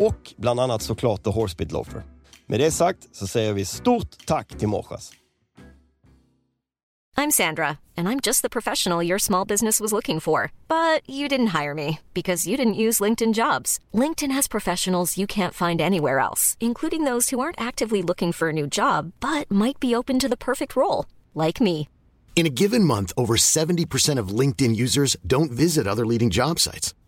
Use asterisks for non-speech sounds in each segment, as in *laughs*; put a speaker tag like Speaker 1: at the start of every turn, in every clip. Speaker 1: Och bland annat såklart The Horsebit Loafer. Med det sagt så säger vi stort tack till Morsas.
Speaker 2: I'm Sandra, and I'm just the professional your small business was looking for. But you didn't hire me because you didn't use LinkedIn jobs. LinkedIn has professionals you can't find anywhere else, including those who aren't actively looking for a new job but might be open to the perfect role, like me.
Speaker 3: In a given month, over 70% of LinkedIn users don't visit other leading job sites.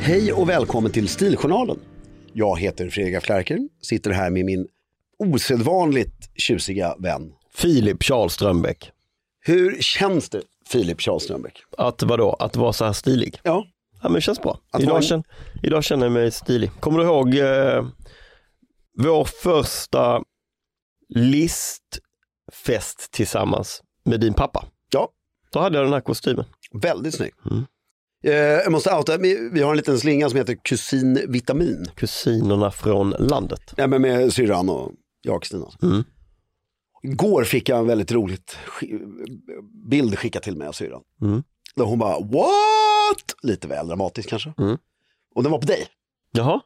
Speaker 4: Hej och välkommen till Stiljournalen. Jag heter Fredrik af Klerker, sitter här med min osedvanligt tjusiga vän.
Speaker 1: Filip Charles Strömbäck.
Speaker 4: Hur känns det, Filip Charles Strömbäck?
Speaker 1: Att vadå? Att vara så här stilig?
Speaker 4: Ja,
Speaker 1: Ja men det känns bra.
Speaker 4: Att
Speaker 1: Idag,
Speaker 4: vara-
Speaker 1: känner, idag känner jag mig stilig. Kommer du ihåg eh, vår första listfest tillsammans med din pappa?
Speaker 4: ja
Speaker 1: Då hade jag den här kostymen.
Speaker 4: väldigt snygg.
Speaker 1: Mm.
Speaker 4: Eh, Jag måste outa, vi vi har en liten slinga som heter Kusin Vitamin.
Speaker 1: Kusinerna från landet.
Speaker 4: Nej, men med syrran och jag och Kristina.
Speaker 1: Mm.
Speaker 4: Igår fick jag en väldigt roligt sk- bild skickad till mig av syrran.
Speaker 1: Mm.
Speaker 4: Där hon bara, what? Lite väl dramatiskt kanske.
Speaker 1: Mm.
Speaker 4: Och den var på dig.
Speaker 1: Jaha,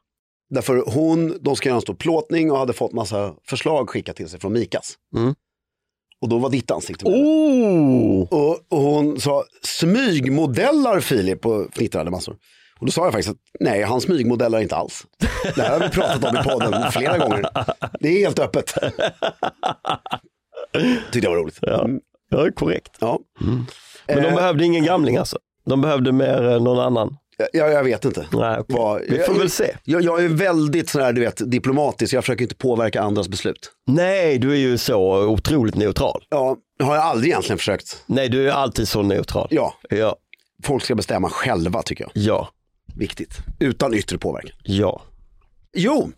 Speaker 4: Därför hon, de ska göra en stor plåtning och hade fått massa förslag skickat till sig från Mikas.
Speaker 1: Mm.
Speaker 4: Och då var ditt ansikte med. Oh! Och, och hon sa, smygmodellar Filip och fnittrade massor. Och då sa jag faktiskt att nej, han smygmodellar inte alls. Det här har vi pratat om i podden flera gånger. Det är helt öppet. Tyckte jag var roligt.
Speaker 1: Ja.
Speaker 4: Mm,
Speaker 1: ja, korrekt.
Speaker 4: ja.
Speaker 1: Men de
Speaker 4: Eh.
Speaker 1: behövde ingen gamling alltså? De behövde mer eh, någon annan?
Speaker 4: Jag, jag vet inte.
Speaker 1: Nej, okej.
Speaker 4: Vad-
Speaker 1: Vi får väl se.
Speaker 4: Jag, jag är väldigt sån här, du vet, diplomatisk, jag försöker inte påverka andras beslut.
Speaker 1: Nej, du är ju så otroligt neutral.
Speaker 4: Ja, har jag aldrig egentligen försökt.
Speaker 1: Nej, du är alltid så neutral.
Speaker 4: Ja,
Speaker 1: Ja,
Speaker 4: folk ska bestämma själva tycker jag.
Speaker 1: ja,
Speaker 4: Viktigt. Utan yttre påverkan.
Speaker 1: ja.
Speaker 4: Jo,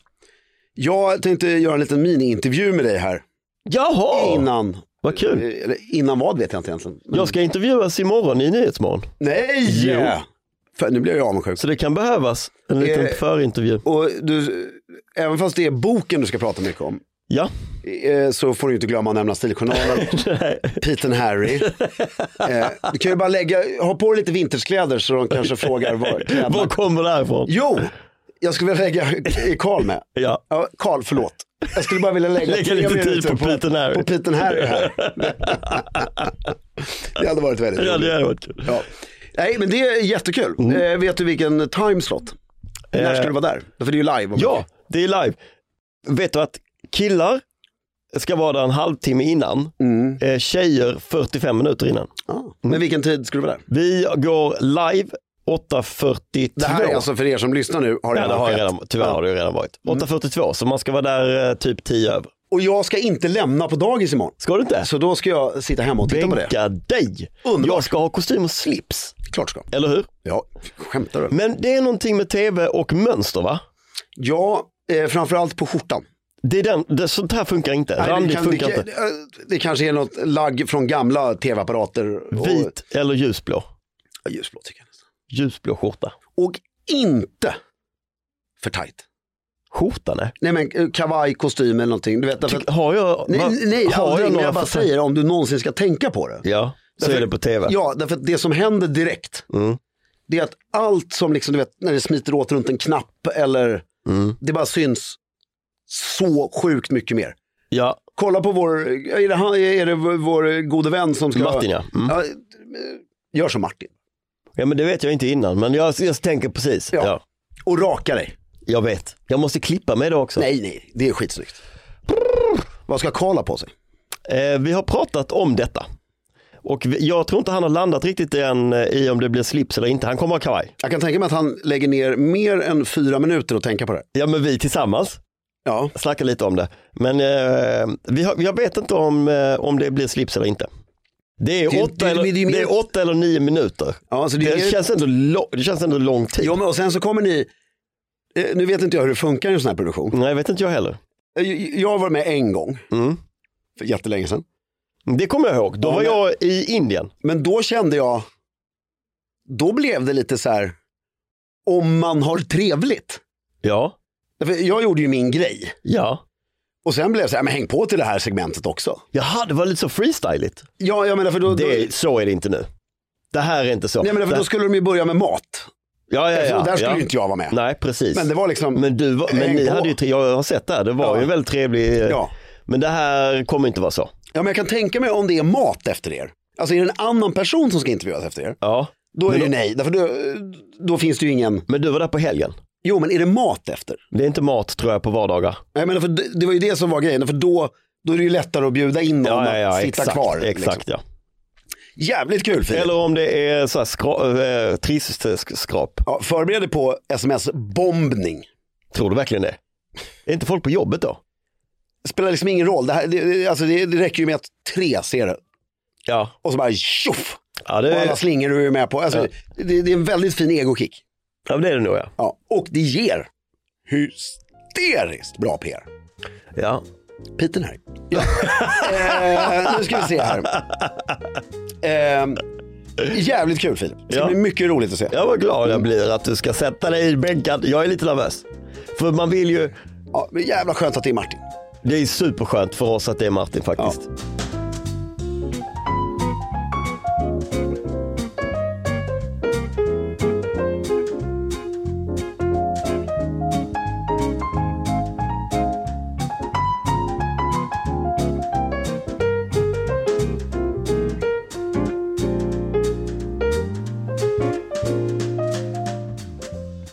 Speaker 4: Jag tänkte göra en liten mini-intervju med dig här.
Speaker 1: Jaha,
Speaker 4: Innan. eh,
Speaker 1: vad kul.
Speaker 4: Eller innan vad vet jag inte egentligen. Men-
Speaker 1: Jag ska intervjuas imorgon i Nyhetsmorgon.
Speaker 4: Nej!
Speaker 1: Jo.
Speaker 4: Fan, nu blev jag avundsjuk.
Speaker 1: Så det kan behövas en liten
Speaker 4: Eh.
Speaker 1: förintervju.
Speaker 4: Och du, även fast det är boken du ska prata mycket om,
Speaker 1: Ja,
Speaker 4: eh, så får du inte glömma att
Speaker 1: *laughs*
Speaker 4: nämna Stiljournalen, Pete and Harry. Eh, Du kan ju bara lägga, ha på dig lite vinterskläder så de kanske
Speaker 1: *laughs*
Speaker 4: frågar var
Speaker 1: var
Speaker 4: kläderna...
Speaker 1: kommer det här ifrån?
Speaker 4: Jo, jag skulle vilja lägga Karl med.
Speaker 1: Ja.
Speaker 4: Ja, Karl, förlåt. Jag skulle bara vilja lägga,
Speaker 1: Lägga
Speaker 4: tre
Speaker 1: lite tid
Speaker 4: minuter
Speaker 1: på Pete and Harry.
Speaker 4: På Pete and
Speaker 1: *laughs*
Speaker 4: Harry här. det hade varit väldigt
Speaker 1: Ja,
Speaker 4: roligt.
Speaker 1: det Mm. hade varit kul.
Speaker 4: Ja. Nej, men det är jättekul. Eh, vet du vilken timeslot? När ska du vara där? För det är ju live. om-
Speaker 1: Ja, det är live. Vet du att killar ska vara där en halvtimme innan,
Speaker 4: Mm.
Speaker 1: eh, tjejer 45 minuter innan.
Speaker 4: Ja.
Speaker 1: Mm.
Speaker 4: Men vilken tid ska du vara där?
Speaker 1: Vi går live 8.42.
Speaker 4: Det här är alltså Mm. för er som lyssnar nu. Har
Speaker 1: Ja, det har jag
Speaker 4: skett.
Speaker 1: redan, tyvärr har det ju redan varit. 8.42, så man ska vara där eh, typ 10 över.
Speaker 4: Och jag ska inte lämna på dagis imorgon.
Speaker 1: Ska du inte?
Speaker 4: Så då ska jag sitta hemma och titta på det.
Speaker 1: Bänka dig!
Speaker 4: Underbart.
Speaker 1: Jag ska ha kostym och slips,
Speaker 4: Klart ska.
Speaker 1: eller hur?
Speaker 4: Ja, skämtar du?
Speaker 1: Men det är någonting med tv och mönster va?
Speaker 4: Ja, eh, framförallt på skjortan.
Speaker 1: Det är den, det, sånt här funkar inte.
Speaker 4: Nej,
Speaker 1: Randigt
Speaker 4: det, kan,
Speaker 1: funkar
Speaker 4: det,
Speaker 1: inte.
Speaker 4: eh, det kanske är något lagg från gamla tv-apparater. och-
Speaker 1: Vit eller ljusblå?
Speaker 4: Ja, ljusblå tycker jag. nästan.
Speaker 1: Ljusblå skjorta.
Speaker 4: Och inte för tajt.
Speaker 1: Skjortan är.
Speaker 4: Nej men eh, kavaj, kostym eller någonting. Du vet, därför
Speaker 1: Tyck,
Speaker 4: att,
Speaker 1: Alltså, har jag,
Speaker 4: nej,
Speaker 1: va-
Speaker 4: nej aldrig, men jag bara
Speaker 1: för-
Speaker 4: säger om du någonsin ska tänka på det.
Speaker 1: Ja, så
Speaker 4: Därför-
Speaker 1: är det på tv.
Speaker 4: Ja, därför att det som händer direkt,
Speaker 1: Mm.
Speaker 4: det är att allt som liksom, du vet, när det smiter åt runt en knapp eller
Speaker 1: Mm.
Speaker 4: det bara syns så sjukt mycket mer.
Speaker 1: Ja,
Speaker 4: Kolla på vår, är det, han- är det vår- vår gode vän som ska...
Speaker 1: Martin ja. Mm.
Speaker 4: Ja, gör som Martin
Speaker 1: Ja men det vet jag inte innan, men jag, jag tänker precis.
Speaker 4: Ja.
Speaker 1: Ja.
Speaker 4: och raka dig.
Speaker 1: jag vet. Jag måste klippa mig då också.
Speaker 4: Nej, nej, det är skitsnyggt. Vad ska Karl ha på sig?
Speaker 1: Eh, vi har pratat om detta. Och vi, jag tror inte han har landat riktigt än eh, i om det blir slips eller inte. Han kommer ha kavaj.
Speaker 4: Jag kan tänka mig att han lägger ner mer än fyra minuter att tänka på det.
Speaker 1: Ja men vi tillsammans
Speaker 4: Ja,
Speaker 1: snackar lite om det. Men eh, vi har, jag vet inte om, eh, om det blir slips eller inte. Det är,
Speaker 4: Det-
Speaker 1: åtta,
Speaker 4: det-
Speaker 1: eller,
Speaker 4: det-
Speaker 1: det,
Speaker 4: det-
Speaker 1: är åtta eller nio minuter.
Speaker 4: ja så det,
Speaker 1: Det
Speaker 4: är...
Speaker 1: känns ändå, lo, det känns ändå lång tid.
Speaker 4: Ja, men och sen så kommer ni, eh, nu vet inte jag hur det funkar i en sån här produktion.
Speaker 1: Nej, vet inte jag heller.
Speaker 4: Eh, Jag var med en gång,
Speaker 1: Mm.
Speaker 4: för jättelänge sedan.
Speaker 1: Det kommer jag ihåg. Då
Speaker 4: Ja,
Speaker 1: var
Speaker 4: men-
Speaker 1: jag i Indien.
Speaker 4: Men då kände jag, då blev det lite så här, om man har trevligt.
Speaker 1: Ja,
Speaker 4: Därför Jag gjorde ju min grej.
Speaker 1: ja.
Speaker 4: Och sen blev det så här, men häng på till det här segmentet också.
Speaker 1: Jaha, det var lite så freestyligt.
Speaker 4: Ja, jag menar för då, då,
Speaker 1: Det, så är det inte nu. Det här är inte så.
Speaker 4: nej, men för
Speaker 1: Det-
Speaker 4: då skulle de ju börja med mat.
Speaker 1: ja, ja, ja,
Speaker 4: och där skulle
Speaker 1: ja.
Speaker 4: ju inte jag vara med.
Speaker 1: Nej, precis.
Speaker 4: Men det var liksom,
Speaker 1: Men, du var, men
Speaker 4: Häng
Speaker 1: ni
Speaker 4: på.
Speaker 1: hade ju, tre- jag har sett det här, det var
Speaker 4: Ja.
Speaker 1: ju en väldigt trevlig, eh,
Speaker 4: ja.
Speaker 1: men det här kommer inte vara så.
Speaker 4: ja, men jag kan tänka mig om det är mat efter er. Alltså är det en annan person som ska intervjuas efter er,
Speaker 1: Ja.
Speaker 4: då är
Speaker 1: Men
Speaker 4: det ju
Speaker 1: då-
Speaker 4: nej. Därför då, då finns det ju ingen,
Speaker 1: Men du var där på helgen.
Speaker 4: jo men är det mat efter?
Speaker 1: Det är inte mat tror jag på vardagar.
Speaker 4: Jag menar, för det, det var ju det som var grejen, för då, då är det ju lättare att bjuda in någon att sitta
Speaker 1: exakt,
Speaker 4: kvar. liksom.
Speaker 1: Exakt, ja.
Speaker 4: Jävligt kul Filip.
Speaker 1: Eller om det är så här skra- eh, trisskrap.
Speaker 4: Ja, förbered dig på sms-bombning.
Speaker 1: Tror du verkligen det? Är inte folk på jobbet då?
Speaker 4: Det spelar liksom ingen roll, det, här, det- det, alltså det, det räcker ju med att tre ser det.
Speaker 1: Ja,
Speaker 4: Och så bara tjoff!
Speaker 1: ja det,
Speaker 4: Och alla slingor du är med på. Alltså, det, det är en väldigt fin egokick.
Speaker 1: ja, men det är det nog ja.
Speaker 4: Ja. Och det ger hysteriskt bra PR.
Speaker 1: ja.
Speaker 4: Piten här.
Speaker 1: *laughs*
Speaker 4: Ja. eh, nu ska vi se här. Eh, jävligt kul Filip. Det ska
Speaker 1: Ja.
Speaker 4: bli mycket roligt att se.
Speaker 1: Jag var glad jag blir att du ska sätta dig i bänken. Jag är lite nervös. För man vill ju,
Speaker 4: Ja, men jävla skönt att det är Martin.
Speaker 1: det är superskönt för oss att det är Martin faktiskt.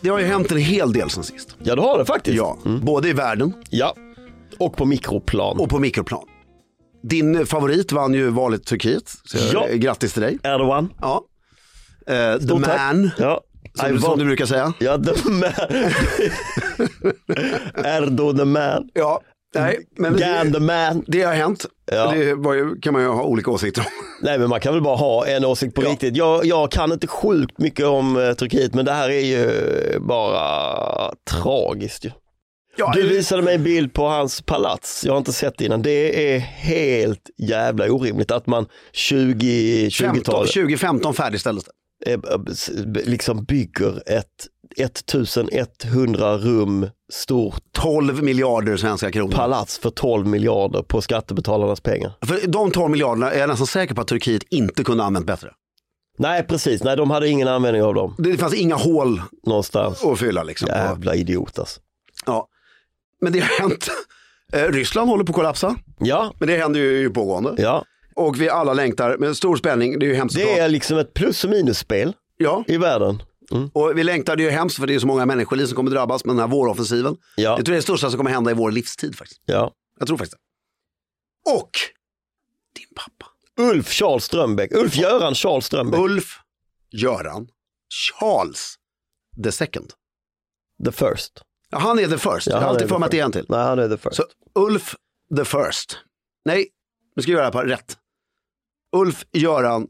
Speaker 4: Det har ju hänt en hel del sen sist.
Speaker 1: Ja, det har det faktiskt.
Speaker 4: Ja, både i världen
Speaker 1: Ja. Och på mikroplan.
Speaker 4: och på mikroplan. Din eh, favorit vann ju valet i Turkiet. Så
Speaker 1: Ja.
Speaker 4: ja. Grattis till dig.
Speaker 1: Erdogan.
Speaker 4: Ja. Eh, the
Speaker 1: Stort tack.
Speaker 4: man,
Speaker 1: Ja. I
Speaker 4: som, som
Speaker 1: vote-
Speaker 4: du brukar säga.
Speaker 1: Ja, the
Speaker 4: *laughs*
Speaker 1: man. Erdo the man.
Speaker 4: Ja, nej, men
Speaker 1: Gan Mm. the
Speaker 4: det,
Speaker 1: man.
Speaker 4: det har hänt.
Speaker 1: Ja.
Speaker 4: Det var ju, kan man ju ha olika
Speaker 1: *laughs*
Speaker 4: åsikter om.
Speaker 1: Nej men man kan väl bara ha en åsikt på riktigt. Jag, jag kan inte sjukt mycket om eh, Turkiet men det här är ju bara tragiskt ju.
Speaker 4: Ja,
Speaker 1: Du
Speaker 4: det-
Speaker 1: visade mig en bild på hans palats, jag har inte sett det innan. Det är helt jävla orimligt att man 20,
Speaker 4: 15,
Speaker 1: 20-talet
Speaker 4: 2015 färdigställdes det.
Speaker 1: eh, s- liksom bygger ett 1100 rum stort
Speaker 4: 12 miljarder svenska kronor.
Speaker 1: palats för 12 miljarder på skattebetalarnas pengar.
Speaker 4: För de 12 miljarderna är jag nästan säker på att Turkiet inte kunde ha använt bättre.
Speaker 1: Nej precis, nej de hade ingen användning av dem
Speaker 4: Det fanns inga hål
Speaker 1: någonstans.
Speaker 4: att fylla liksom. Och-
Speaker 1: Jävla idiot alltså.
Speaker 4: Ja. Men det har hänt. Eh, Ryssland håller på att kollapsa,
Speaker 1: Ja,
Speaker 4: men det händer ju pågående.
Speaker 1: ja.
Speaker 4: Och vi alla längtar med stor spänning, det är ju hemskt.
Speaker 1: Det är liksom ett plus och minusspel
Speaker 4: Ja,
Speaker 1: i världen. Mm.
Speaker 4: och vi längtar, det är ju hemskt för det är så många människoliv som kommer drabbas med den här våroffensiven.
Speaker 1: Ja,
Speaker 4: Jag tror det är det största som kommer hända i vår livstid faktiskt.
Speaker 1: ja.
Speaker 4: Jag tror faktiskt det. Och din pappa,
Speaker 1: Ulf Charles Strömbäck, Ulf Göran Charles Strömbäck,
Speaker 4: Ulf Göran Charles the second.
Speaker 1: the first.
Speaker 4: Ja, han är the first. Jag
Speaker 1: han är
Speaker 4: har alltid
Speaker 1: the
Speaker 4: för mig att det är
Speaker 1: first.
Speaker 4: en till.
Speaker 1: Nej, han är the first.
Speaker 4: Så Ulf the first. Nej, nu ska jag göra det här på rätt. Ulf Göran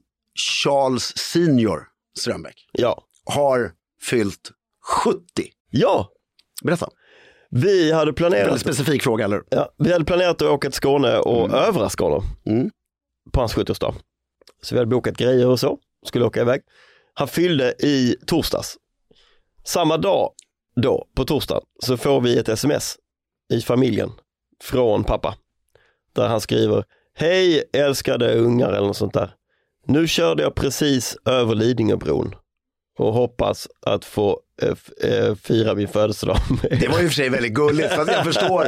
Speaker 4: Charles senior Strömbäck
Speaker 1: Ja.
Speaker 4: har fyllt 70.
Speaker 1: ja,
Speaker 4: Berätta.
Speaker 1: vi hade
Speaker 4: Väldigt
Speaker 1: planerat
Speaker 4: specifik fråga, eller hur?
Speaker 1: Ja, vi hade planerat att åka till Skåne och överraska honom
Speaker 4: Mm.
Speaker 1: på hans 70-årsdag. Så vi hade bokat grejer och så, skulle åka iväg. Han fyllde i torsdags. Samma dag då, på torsdagen, så får vi ett sms i familjen från pappa. Där han skriver, hej älskade ungar eller något sånt där. Nu körde jag precis över Lidingöbron och hoppas att få eh, f- eh, fira min födelsedag *laughs* med er."
Speaker 4: Det var ju i och för sig väldigt gulligt, fast jag förstår.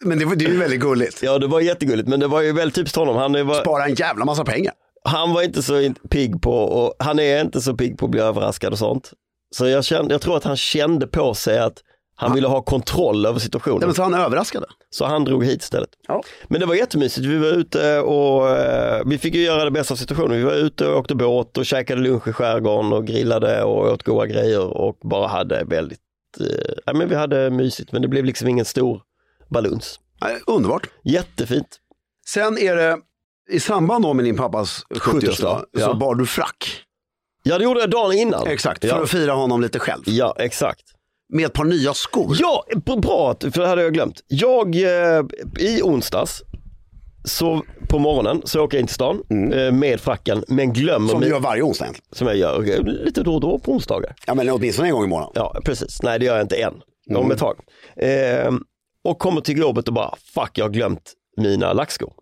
Speaker 4: Men det, var- det är ju väldigt gulligt.
Speaker 1: Ja det var jättegulligt men det var ju väldigt typiskt honom. Han var,
Speaker 4: Spara en jävla massa pengar.
Speaker 1: han var inte så in- pigg på och han är inte så pigg på att bli överraskad och sånt. Så jag, kände, jag tror att han kände på sig att han ville ha kontroll över situationen.
Speaker 4: Nej, men så han överraskade.
Speaker 1: Så han drog hit istället.
Speaker 4: Ja.
Speaker 1: Men det var jättemysigt. Vi var ute och eh, vi fick ju göra det bästa av situationen. Vi var ute och åkte båt och käkade lunch i skärgården och grillade och åt goda grejer och bara hade väldigt, eh, ja, men vi hade mysigt men det blev liksom ingen stor baluns.
Speaker 4: Nej, Underbart.
Speaker 1: Jättefint.
Speaker 4: Sen är det, i samband då med din pappas 70-årsdag, så
Speaker 1: Ja.
Speaker 4: bar du frack.
Speaker 1: Ja det gjorde jag dagen innan.
Speaker 4: Exakt, för
Speaker 1: Ja.
Speaker 4: att fira honom lite själv.
Speaker 1: Ja, exakt.
Speaker 4: Med ett par nya skor.
Speaker 1: Ja, b- bra, att- för det hade jag glömt. Jag, eh, i onsdags, så på morgonen så åker jag in till stan eh, med fracken, men glömmer
Speaker 4: Mm. Som du
Speaker 1: min-
Speaker 4: gör varje onsdag egentligen.
Speaker 1: som jag gör eh, lite då och då på onsdagar.
Speaker 4: Ja men åtminstone en gång i månaden.
Speaker 1: Ja, precis. Nej, det gör jag inte än.
Speaker 4: Mm.
Speaker 1: Om ett tag. Eh, och kommer till jobbet och bara, fuck, jag har glömt mina lackskor.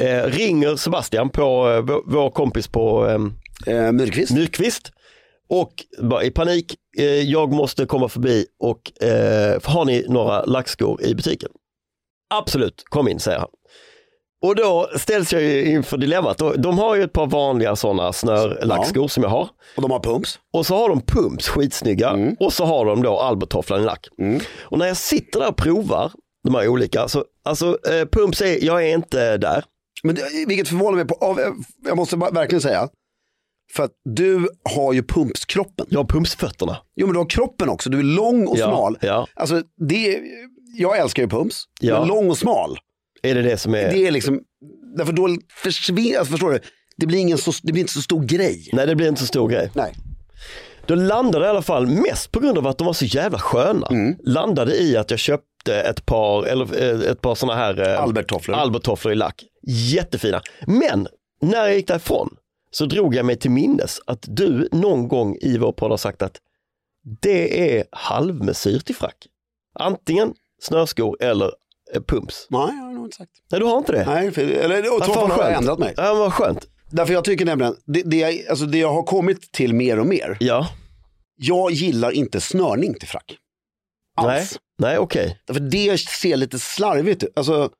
Speaker 1: Eh, ringer Sebastian på eh, vår- vår kompis på ehm,
Speaker 4: Eh, Myrkvist.
Speaker 1: Nyqvist. Och bara i panik, eh, jag måste komma förbi och eh, har ni några lackskor i butiken? Absolut, kom in säger han. Och då ställs jag ju inför dilemmat. De- De har ju ett par vanliga sådana snörlackskor som jag har.
Speaker 4: Och de har pumps.
Speaker 1: Och så har de pumps, skitsnygga. Och så har de då Albertofflan i lack. Och när jag sitter där och provar de här olika, så alltså eh, pumps är, jag är inte där.
Speaker 4: Men det, vilket förvånar mig, på, av, jag måste bara verkligen säga. För att du har ju pumpskroppen.
Speaker 1: Jag har pumpsfötterna.
Speaker 4: Jo men du har kroppen också, du är lång och
Speaker 1: Ja,
Speaker 4: smal.
Speaker 1: ja.
Speaker 4: Alltså, det, är- jag älskar ju pumps,
Speaker 1: Ja. Eh.
Speaker 4: men lång och smal.
Speaker 1: Är det det som är...
Speaker 4: Det är liksom, därför då försvinner, alltså, förstår du, det blir, ingen så, det blir inte så stor grej.
Speaker 1: Nej det blir inte så stor grej.
Speaker 4: Nej.
Speaker 1: Då landade jag i alla fall, mest på grund av att de var så jävla sköna,
Speaker 4: Mm.
Speaker 1: landade i att jag köpte ett par, eller eh, ett par sådana här eh,
Speaker 4: Alberttofflor.
Speaker 1: Alberttofflor i lack. Jättefina. Men när jag gick därifrån så drog jag mig till minnes att du någon gång i vår podd har sagt att det är halvmesyr till frack. Antingen snöskor eller eh, pumps.
Speaker 4: Nej, jag har nog inte sagt.
Speaker 1: Nej du har inte det?
Speaker 4: Nej, för, eller, och
Speaker 1: Vad
Speaker 4: två
Speaker 1: fan
Speaker 4: fall har jag
Speaker 1: skönt.
Speaker 4: ändrat mig.
Speaker 1: Ja men vad skönt.
Speaker 4: Därför jag tycker nämligen, det, det, jag, alltså, det jag har kommit till mer och mer,
Speaker 1: Ja,
Speaker 4: jag gillar inte snörning till frack. Alls.
Speaker 1: nej, nej okej.
Speaker 4: För det ser lite slarvigt ut. Alltså,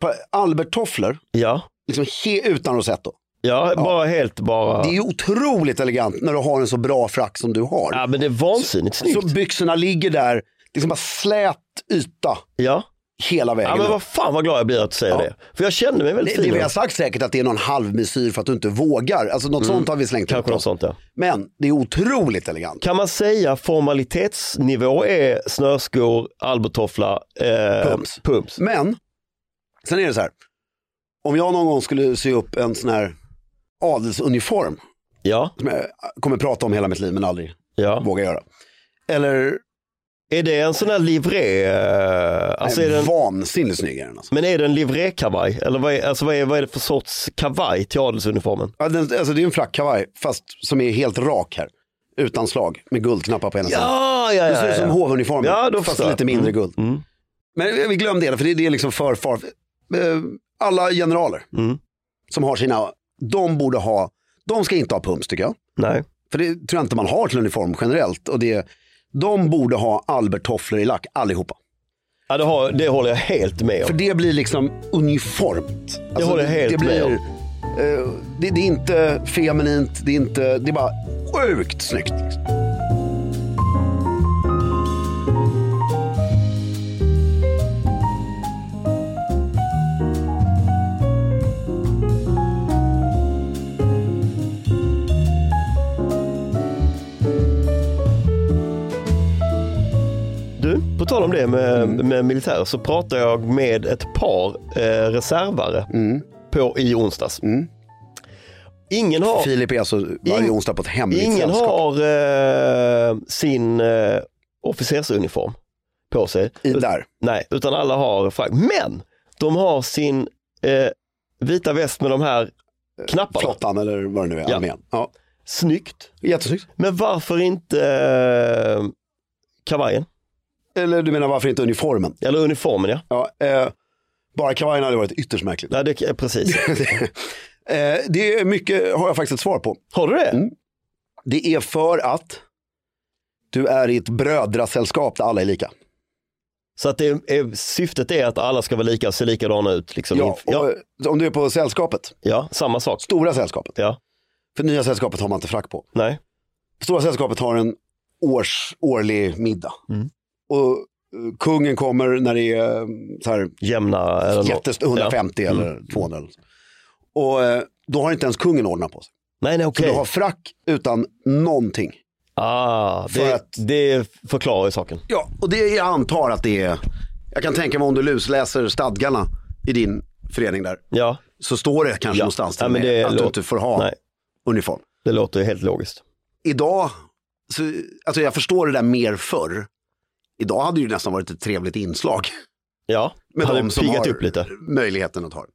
Speaker 4: på Albert-tofflor,
Speaker 1: Ja.
Speaker 4: liksom he, utan rosetto.
Speaker 1: Ja, bara helt bara.
Speaker 4: Det är ju otroligt elegant när du har en så bra frack som du har.
Speaker 1: Ja men det är vansinnigt snyggt.
Speaker 4: så byxorna ligger där, liksom bara slät yta
Speaker 1: ja.
Speaker 4: hela vägen.
Speaker 1: ja men
Speaker 4: upp.
Speaker 1: vad fan vad glad jag blir att du säger
Speaker 4: Ja.
Speaker 1: det. För jag kände mig väldigt
Speaker 4: det, det
Speaker 1: fin.
Speaker 4: vi har sagt säkert att det är någon halvmesyr för att du inte vågar. Alltså något sånt har vi slängt
Speaker 1: Mm. Kanske
Speaker 4: ut.
Speaker 1: något sånt ja.
Speaker 4: Men det är otroligt elegant.
Speaker 1: Kan man säga formalitetsnivå är snöskor, albertoffla, eh,
Speaker 4: Pumps.
Speaker 1: pumps.
Speaker 4: Men, sen är det så här. Om jag någon gång skulle sy upp en sån här adelsuniform,
Speaker 1: Ja,
Speaker 4: som jag kommer prata om hela mitt liv men aldrig
Speaker 1: ja,
Speaker 4: vågar göra. Eller
Speaker 1: Är det en sån här livré? eh, Alltså är
Speaker 4: Nej,
Speaker 1: det en,
Speaker 4: Vansinnigt snygg är den alltså.
Speaker 1: men är det en livrékavaj? Eller vad är, alltså vad, är, vad är det för sorts kavaj till adelsuniformen?
Speaker 4: Ja, den, alltså det är en flack kavaj, fast som är helt rak här. Utan slag, med guldknappar på ena sidan.
Speaker 1: Ja, ja, ja.
Speaker 4: Det ser ut som
Speaker 1: ja.
Speaker 4: hovuniformen,
Speaker 1: Ja, då
Speaker 4: fast
Speaker 1: förstår jag.
Speaker 4: lite mindre
Speaker 1: Mm.
Speaker 4: guld. Men eh, vi glömde det, för det är det liksom för far. eh, Alla generaler
Speaker 1: Mm.
Speaker 4: som har sina, de borde ha, de ska inte ha pumps tycker jag.
Speaker 1: Nej.
Speaker 4: För det tror jag inte man har till uniform generellt. Och det, de borde ha Albert-tofflor i lack, allihopa.
Speaker 1: Ja, det, har, det håller jag helt med om.
Speaker 4: För det blir liksom uniformt. Alltså,
Speaker 1: håller jag helt
Speaker 4: det blir,
Speaker 1: med om.
Speaker 4: eh, det, det är inte feminint, det är, inte, det är bara sjukt snyggt. liksom.
Speaker 1: Du, på tal om det med,
Speaker 4: Mm.
Speaker 1: med militär så pratade jag med ett par eh, reservare
Speaker 4: Mm.
Speaker 1: på, i onsdags. Ingen har,
Speaker 4: Filip är alltså varje
Speaker 1: Ing-
Speaker 4: onsdag på ett hemligt
Speaker 1: ingen
Speaker 4: sällskap.
Speaker 1: har eh, sin eh, officersuniform på sig.
Speaker 4: I där.
Speaker 1: Nej, utan alla har frack. Men de har sin eh, vita väst med de här knapparna.
Speaker 4: Flottan eller vad det nu är,
Speaker 1: Ja.
Speaker 4: armén. Ja.
Speaker 1: Snyggt.
Speaker 4: Jättesnyggt.
Speaker 1: Men varför inte eh, kavajen?
Speaker 4: Eller du menar varför inte uniformen?
Speaker 1: Eller uniformen ja.
Speaker 4: Ja, eh, bara kavajen hade varit
Speaker 1: *laughs*
Speaker 4: ytterst märkligt.
Speaker 1: Nej, det, precis.
Speaker 4: *laughs* Eh, det är mycket, har jag faktiskt ett svar på.
Speaker 1: Har du det?
Speaker 4: Det är för att du är i ett brödrasällskap där alla är lika.
Speaker 1: Så att det är, syftet är att alla ska vara lika och se likadana ut. Liksom.
Speaker 4: Ja,
Speaker 1: Ja, ja,
Speaker 4: och, eh, Om du är på sällskapet,
Speaker 1: samma sak.
Speaker 4: stora sällskapet,
Speaker 1: Ja,
Speaker 4: för nya sällskapet har man inte frack på.
Speaker 1: nej.
Speaker 4: Stora sällskapet har en års, årlig middag.
Speaker 1: Mm.
Speaker 4: Och eh, kungen kommer när det är eh, så här,
Speaker 1: Jämna. Eller nå-
Speaker 4: jättest, 150
Speaker 1: Ja.
Speaker 4: eller
Speaker 1: Mm.
Speaker 4: 200. eller så. Och eh, då har inte ens kungen ordnat på sig.
Speaker 1: Nej, nej,
Speaker 4: Så
Speaker 1: okej.
Speaker 4: du har frack utan någonting.
Speaker 1: Ah,
Speaker 4: För
Speaker 1: det,
Speaker 4: att-
Speaker 1: det förklarar ju saken.
Speaker 4: Ja, och det jag antar att det är, jag kan tänka mig om du lusläser stadgarna i din förening där,
Speaker 1: Ja,
Speaker 4: så står det kanske
Speaker 1: Ja.
Speaker 4: någonstans
Speaker 1: Ja,
Speaker 4: till
Speaker 1: men
Speaker 4: och med
Speaker 1: det
Speaker 4: att du
Speaker 1: lå-
Speaker 4: inte får ha
Speaker 1: nej.
Speaker 4: uniform.
Speaker 1: det låter ju helt logiskt.
Speaker 4: Idag, så, alltså jag förstår det där mer förr. Idag hade det ju nästan varit ett trevligt inslag. *laughs*
Speaker 1: Ja,
Speaker 4: Med
Speaker 1: hade
Speaker 4: de som
Speaker 1: piggat
Speaker 4: har
Speaker 1: upp lite.
Speaker 4: möjligheten att ha det.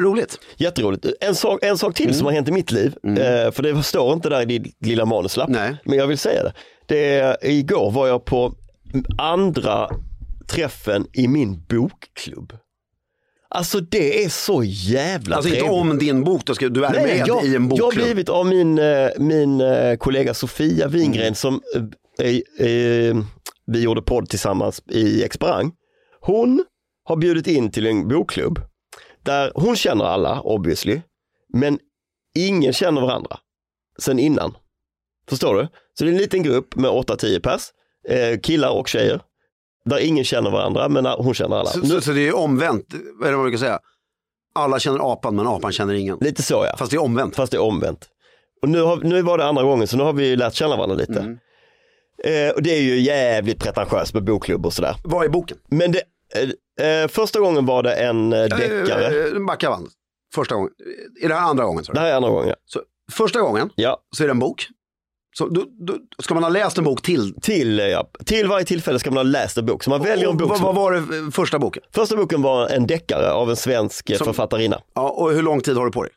Speaker 4: Roligt.
Speaker 1: Jätteroligt. En sak, en sak till
Speaker 4: Mm.
Speaker 1: som har hänt i mitt liv, eh, för det står inte där i din lilla manuslapp,
Speaker 4: Nej.
Speaker 1: men jag vill säga det. det är- igår var jag på andra träffen i min bokklubb. Alltså det är så jävla
Speaker 4: Alltså inte
Speaker 1: trevligt.
Speaker 4: om din bok, då ska, du är
Speaker 1: Nej,
Speaker 4: med
Speaker 1: jag,
Speaker 4: i en
Speaker 1: jag har
Speaker 4: bokklubb.
Speaker 1: blivit av min, eh, min eh, kollega Sofia Wingren
Speaker 4: Mm.
Speaker 1: som eh, eh, eh, vi gjorde podd tillsammans i Experang. Hon har bjudit in till en bokklubb där hon känner alla obviously, men ingen känner varandra sen innan. Förstår du? Så det är en liten grupp med 8-10 pers, eh, killar och tjejer, där ingen känner varandra men eh, hon känner alla.
Speaker 4: Så, så, så det är omvänt, vad är det man brukar säga? Alla känner apan men apan känner ingen.
Speaker 1: Lite så ja.
Speaker 4: Fast det är omvänt.
Speaker 1: Fast det är omvänt. Och nu, har, nu var det andra gången så nu har vi ju lärt känna varandra lite.
Speaker 4: Mm.
Speaker 1: Eh, och det är ju jävligt pretentiöst med bokklubb och sådär.
Speaker 4: Vad är boken?
Speaker 1: Men det, eh, eh, första gången var det en eh, deckare.
Speaker 4: Eh, eh, Backa bandet. Första gången. Är det här andra gången? sa
Speaker 1: Det
Speaker 4: du?
Speaker 1: här är andra gången ja.
Speaker 4: Så, första gången
Speaker 1: ja
Speaker 4: så är det en bok. Så, då, då, ska man ha läst en bok till?
Speaker 1: till, eh, ja. till varje tillfälle ska man ha läst en bok. Så man väljer en
Speaker 4: Och
Speaker 1: bok.
Speaker 4: Vad,
Speaker 1: som-
Speaker 4: vad var det eh, första boken?
Speaker 1: Första boken var en deckare av en svensk eh,
Speaker 4: Som-
Speaker 1: författarinna.
Speaker 4: Ja, och hur lång tid har du på dig?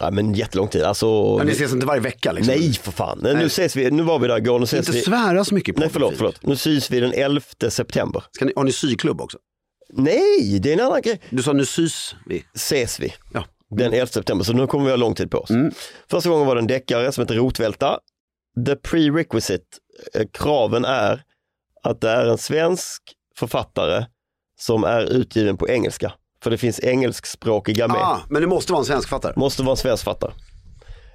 Speaker 1: Ja, men jättelång tid. Alltså,
Speaker 4: Men ni ses inte varje vecka liksom?
Speaker 1: nej för fan. Nej,
Speaker 4: Nej. alltså,
Speaker 1: Nu, ses vi, nu var vi där igår. Nu ses
Speaker 4: Inte
Speaker 1: vi...
Speaker 4: svära så mycket på
Speaker 1: Nej
Speaker 4: det,
Speaker 1: förlåt,
Speaker 4: Filip.
Speaker 1: förlåt. Nu syns vi den 11 september.
Speaker 4: Ska ni, har ni syklubb också?
Speaker 1: Nej, det är en annan grej.
Speaker 4: Du sa nu sys vi.
Speaker 1: ses vi
Speaker 4: Ja. Mm.
Speaker 1: den 11 september, så nu kommer vi ha lång tid på oss. Första gången var det en deckare som heter Rotvälta. The prerequisite, eh, kraven är att det är en svensk författare som är utgiven på engelska. För det finns engelskspråkiga med.
Speaker 4: Ah, men det måste vara en svensk fattare.
Speaker 1: Måste vara en svensk författare.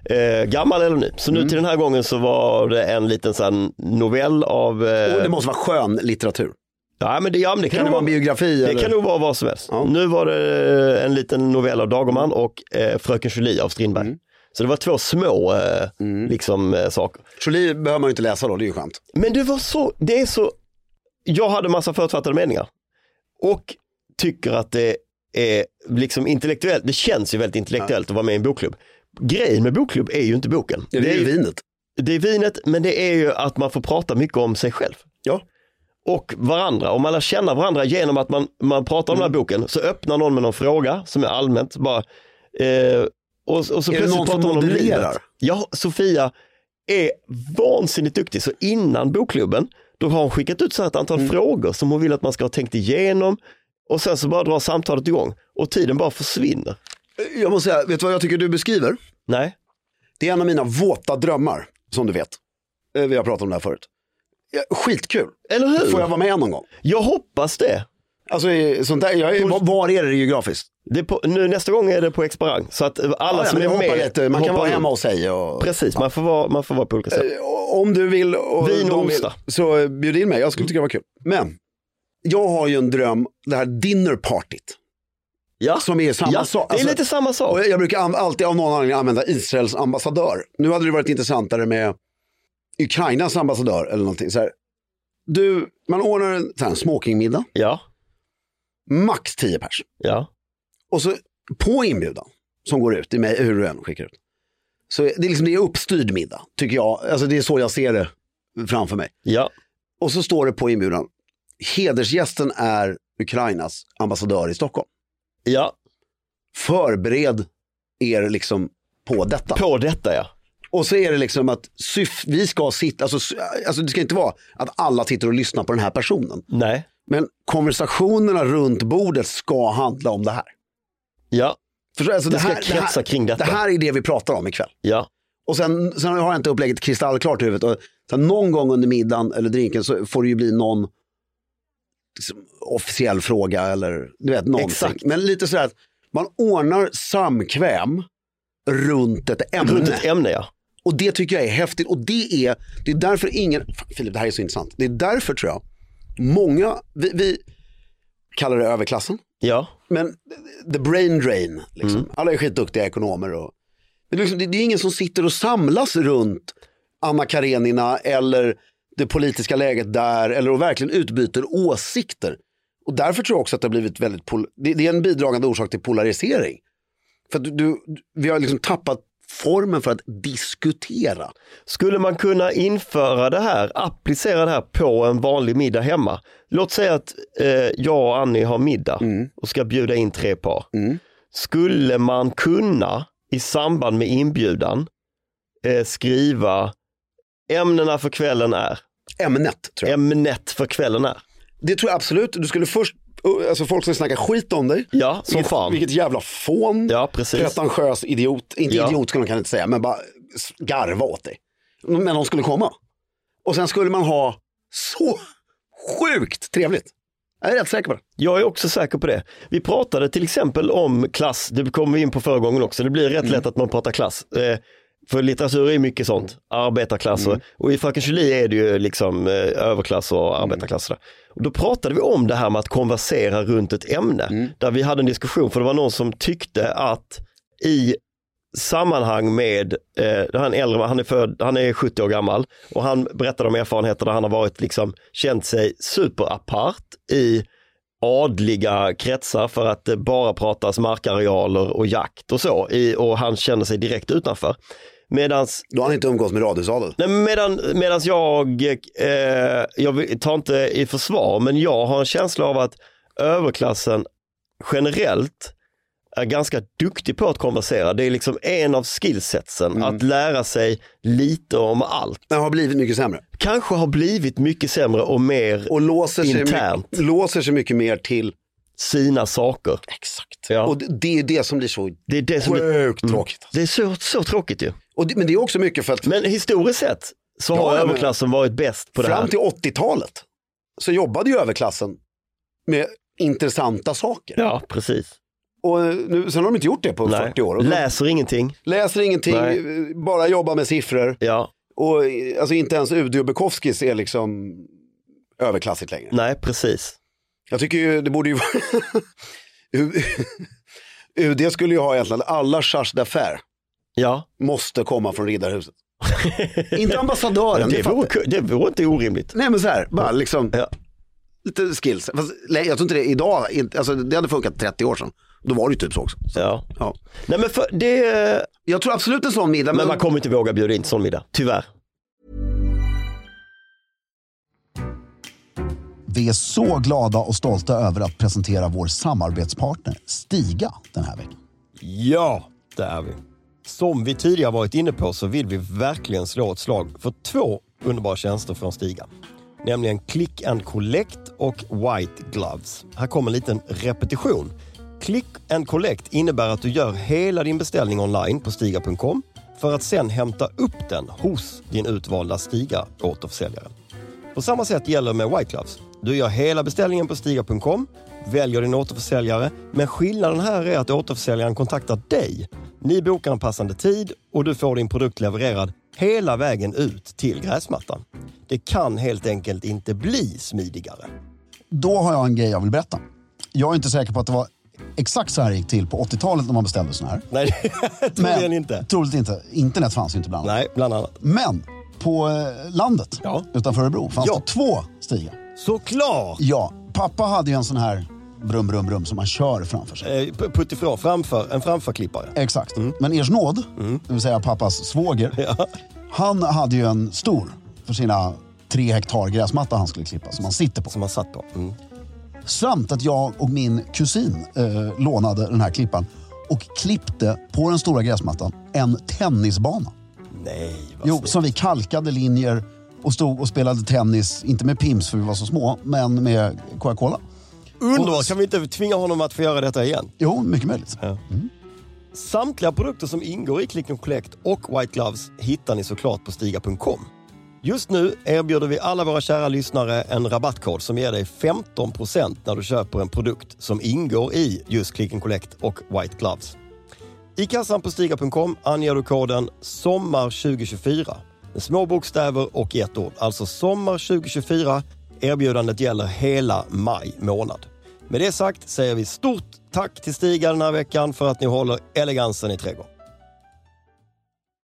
Speaker 1: Eh, gammal eller ny. Så nu
Speaker 4: Mm.
Speaker 1: till den här gången så var det en liten sån novell av... Eh,
Speaker 4: Och Oh, det måste vara skön litteratur.
Speaker 1: ja, men det, ja, men det kan,
Speaker 4: Kan det vara en biografi?
Speaker 1: det
Speaker 4: eller?
Speaker 1: kan nog vara vad som helst.
Speaker 4: Ja.
Speaker 1: Nu var det eh, en liten novell av Dagerman och eh, Fröken Julie av Strindberg.
Speaker 4: Mm.
Speaker 1: Så det var två små eh, liksom, eh, saker.
Speaker 4: Jolie behöver man ju inte läsa då, det är ju skönt.
Speaker 1: Men det var så, det är så, jag hade massa förutfattade meningar. Och tycker att det är liksom intellektuellt, det känns ju väldigt intellektuellt att vara med i en bokklubb. Grejen med bokklubb är ju inte boken.
Speaker 4: Det är ju vinet.
Speaker 1: det är vinet, men det är ju att man får prata mycket om sig själv.
Speaker 4: Ja.
Speaker 1: och varandra. Om man lär känna varandra genom att man, man pratar om
Speaker 4: Mm.
Speaker 1: den här boken så öppnar någon med någon fråga som är allmänt bara... Eh, och, och så
Speaker 4: det
Speaker 1: plötsligt
Speaker 4: någon
Speaker 1: pratar
Speaker 4: som
Speaker 1: man om
Speaker 4: modererar?
Speaker 1: livet. Ja, Sofia är vansinnigt duktig. Så innan bokklubben, då har hon skickat ut så här ett antal
Speaker 4: Mm.
Speaker 1: frågor som hon vill att man ska ha tänkt igenom. Och sen så bara drar samtalet igång och tiden bara försvinner.
Speaker 4: Jag måste säga, vet du vad jag tycker du beskriver?
Speaker 1: Nej,
Speaker 4: Det är en av mina våta drömmar, som du vet. Eh, Vi har pratat om det här förut. Ja, Skitkul.
Speaker 1: eller hur?
Speaker 4: Får jag
Speaker 1: Jag...
Speaker 4: vara med någon gång?
Speaker 1: hoppas det.
Speaker 4: Alltså, eh, sånt där, jag är, var- var är det geografiskt?
Speaker 1: det är på, nu, nästa gång är det på Exparang. Så att eh, alla
Speaker 4: Ja, ja,
Speaker 1: som
Speaker 4: men
Speaker 1: är
Speaker 4: jag hoppar
Speaker 1: med
Speaker 4: rätt, eh, man
Speaker 1: hoppar
Speaker 4: kan vara
Speaker 1: in.
Speaker 4: hemma hos sig. Och, Eh,
Speaker 1: Precis, man får vara, man får vara på olika sätt.
Speaker 4: Och om du vill och
Speaker 1: Vin och
Speaker 4: de vill,
Speaker 1: onsdag.
Speaker 4: så eh, bjud in mig, jag skulle tycka det var kul. Men jag har ju en dröm, det här dinnerpartyt.
Speaker 1: Ja,
Speaker 4: Som är samma
Speaker 1: ja.
Speaker 4: sak.
Speaker 1: det är
Speaker 4: Alltså-
Speaker 1: lite samma sak.
Speaker 4: Och jag brukar an- alltid av någon anledning använda Israels ambassadör. Nu hade det varit intressantare med Ukrainas ambassadör eller någonting. Så här, du, man ordnar en så här, smokingmiddag,
Speaker 1: Ja,
Speaker 4: max 10 pers.
Speaker 1: ja.
Speaker 4: Och så på inbjudan, som går ut, i mig, hur du än skickar ut. Så det är liksom det är uppstyrd middag, tycker jag. Alltså det är så jag ser det framför mig.
Speaker 1: Ja,
Speaker 4: Och så står det på inbjudan, hedersgästen är Ukrainas ambassadör i Stockholm.
Speaker 1: ja.
Speaker 4: Förbered er liksom på detta.
Speaker 1: på detta ja.
Speaker 4: Och så är det liksom att syf, vi ska sitta, alltså, sy- alltså det ska inte vara att alla sitter och lyssnar på den här personen.
Speaker 1: Nej,
Speaker 4: Men konversationerna runt bordet ska handla om det här.
Speaker 1: ja,
Speaker 4: Förstår du? alltså
Speaker 1: Det ska
Speaker 4: här, det,
Speaker 1: kretsa
Speaker 4: här,
Speaker 1: kring detta.
Speaker 4: det här är det vi pratar om ikväll.
Speaker 1: ja.
Speaker 4: Och sen, sen har jag inte upplägget kristallklart i huvudet. Och sen någon gång under middagen eller drinken så får det ju bli någon liksom, officiell fråga eller du vet någonting.
Speaker 1: Exakt.
Speaker 4: Men lite sådär att man ordnar samkväm runt ett ämne.
Speaker 1: Runt ett ämne ja.
Speaker 4: Och det tycker jag är häftigt. Och det är, det är därför ingen, Fan, Filip det här är så intressant. Det är därför tror jag, många, vi, vi kallar det överklassen,
Speaker 1: Ja,
Speaker 4: men the brain drain. Liksom.
Speaker 1: Mm.
Speaker 4: Alla är skitduktiga ekonomer. Och, men det är liksom, det, det är ingen som sitter och samlas runt Anna Karenina eller det politiska läget där eller och verkligen utbyter åsikter. Och därför tror jag också att det har blivit väldigt, pol- det, det är en bidragande orsak till polarisering. För att du, du, vi har liksom tappat formen för att diskutera.
Speaker 1: Skulle man kunna införa det här, applicera det här på en vanlig middag hemma? Låt säga att eh, jag och Annie har middag
Speaker 4: Mm.
Speaker 1: och ska bjuda in tre par. Skulle man kunna i samband med inbjudan eh, skriva ämnena för kvällen är,
Speaker 4: Ämnet tror jag.
Speaker 1: ämnet för kvällen är.
Speaker 4: Det tror jag absolut. Du skulle först, alltså folk som snackar skit om dig.
Speaker 1: Ja, som
Speaker 4: vilket,
Speaker 1: fan.
Speaker 4: Vilket jävla fån.
Speaker 1: Ja, precis.
Speaker 4: Pretentiös idiot. Inte
Speaker 1: Ja.
Speaker 4: idiot skulle man kanske inte säga, men bara s- garva åt dig. Men de skulle komma. Och sen skulle man ha så sjukt trevligt. Jag är rätt säker på det.
Speaker 1: Jag är också säker på det. Vi pratade till exempel om klass, det kom vi in på förra gången också, det blir rätt lätt att man pratar klass. Eh, för litteratur är ju mycket sånt, arbetarklass och, och i Fröken Julie är det ju liksom eh, överklass och arbetarklass. och där. Och då pratade vi om det här med att konversera runt ett ämne, där vi hade en diskussion, för det var någon som tyckte att i sammanhang med, eh, det här är en äldre man, han är, född, han är 70 år gammal och han berättade om erfarenheter där han har varit liksom, känt sig superapart i adliga kretsar för att det bara pratas markarealer och jakt och så i, och han känner sig direkt utanför. Medans,
Speaker 4: Då har han inte umgås med radhusadel.
Speaker 1: nej, medan, medans jag, eh, jag vill- tar inte i försvar, men jag har en känsla av att överklassen generellt är ganska duktig på att konversera. Det är liksom en av skillsetsen,
Speaker 4: Mm.
Speaker 1: att lära sig lite om allt.
Speaker 4: Den har blivit mycket sämre.
Speaker 1: Kanske har blivit mycket sämre och mer
Speaker 4: Och låser sig,
Speaker 1: Internt.
Speaker 4: mycket, låser sig mycket mer till...
Speaker 1: sina saker.
Speaker 4: Exakt.
Speaker 1: Ja.
Speaker 4: Och det, det är det som blir så
Speaker 1: Det är det som Mm. är,
Speaker 4: sjukt tråkigt.
Speaker 1: det är så, så tråkigt ju.
Speaker 4: Och det, men det är också mycket för att
Speaker 1: Men historiskt sett så
Speaker 4: Ja,
Speaker 1: har
Speaker 4: men-
Speaker 1: överklassen varit bäst på det här.
Speaker 4: Fram till 80-talet så jobbade ju överklassen med intressanta saker.
Speaker 1: Ja, precis.
Speaker 4: Och eh, nu, sen har de inte gjort det på 40 år. Och de
Speaker 1: Läser ingenting.
Speaker 4: läser ingenting,
Speaker 1: Nej.
Speaker 4: eh, bara jobbar med siffror.
Speaker 1: Ja,
Speaker 4: Och eh, alltså, inte ens UD och Bukowskis är liksom överklassigt längre.
Speaker 1: nej, precis.
Speaker 4: Jag tycker ju, det borde ju vara... *laughs* U- UD skulle ju ha egentligen alla charge d'affaires
Speaker 1: Ja,
Speaker 4: måste komma från
Speaker 1: *laughs*
Speaker 4: Riddarhuset. inte ambassadören, det
Speaker 1: det
Speaker 4: fattar
Speaker 1: vore,
Speaker 4: jag.
Speaker 1: ku- det vore inte orimligt.
Speaker 4: Nej men så här, bara liksom
Speaker 1: Ja.
Speaker 4: lite skills. Fast, nej, jag tror inte det idag, inte, alltså, det hade funkat 30 år sedan. Då var det ju typ så också.
Speaker 1: Ja.
Speaker 4: Ja.
Speaker 1: Nej, men för, det,
Speaker 4: Jag tror absolut en sån middag, men,
Speaker 1: men man kommer inte våga bjuda in till sån middag, tyvärr.
Speaker 5: Vi är så glada och stolta över att presentera vår samarbetspartner Stiga den här veckan.
Speaker 1: Ja, det är vi. Som vi tidigare varit inne på så vill vi verkligen slå ett slag för två underbara tjänster från Stiga. Nämligen Click and Collect och White Gloves. Här kommer en liten repetition. Click and Collect innebär att du gör hela din beställning online på stiga.com för att sen hämta upp den hos din utvalda Stiga återförsäljare. På samma sätt gäller med White Gloves. Du gör hela beställningen på Stiga.com, väljer din återförsäljare, men skillnaden här är att återförsäljaren kontaktar dig. Ni bokar en passande tid och du får din produkt levererad hela vägen ut till gräsmattan. Det kan helt enkelt inte bli smidigare.
Speaker 5: Då har jag en grej jag vill berätta. Jag är inte säker på att det var exakt så här det gick till på 80-talet när man beställde sån här.
Speaker 1: Nej, *laughs* troligen inte.
Speaker 5: Troligt inte. Internet fanns ju inte bland annat.
Speaker 1: Nej, bland annat.
Speaker 5: Men på eh, landet
Speaker 1: Ja.
Speaker 5: utanför Örebro fanns
Speaker 1: Ja.
Speaker 5: det två stigar.
Speaker 1: Såklart!
Speaker 5: Ja, pappa hade ju en sån här brum, brum, brum som man kör framför sig.
Speaker 1: Eh, p- Puttifrån, framför, en framförklippare.
Speaker 5: Exakt. Men Ers nåd, det vill säga pappas svåger, han hade ju en stor för sina tre hektar gräsmatta han skulle klippa som han sitter på.
Speaker 1: Som man satt på. Mm.
Speaker 5: Samt att jag och min kusin eh, lånade den här klippan och klippte på den stora gräsmattan en tennisbana.
Speaker 1: Nej, vad
Speaker 5: Jo,
Speaker 1: snyggt.
Speaker 5: som vi kalkade linjer och stod och spelade tennis, inte med pims för vi var så små, men med Coca-Cola.
Speaker 1: Underbart! Kan vi inte tvinga honom att få göra detta igen?
Speaker 5: Jo, mycket möjligt.
Speaker 1: Samtliga produkter som ingår i Click and Collect och White Gloves hittar ni såklart på stiga.com. Just nu erbjuder vi alla våra kära lyssnare en rabattkod som ger dig 15% när du köper en produkt som ingår i just Click and Collect och White Gloves. I kassan på stiga.com anger du koden SOMMAR2024 med små bokstäver och ett ord. Alltså SOMMAR2024. Erbjudandet gäller hela maj månad. Med det sagt säger vi stort tack till Stiga den här veckan för att ni håller elegansen i trädgården.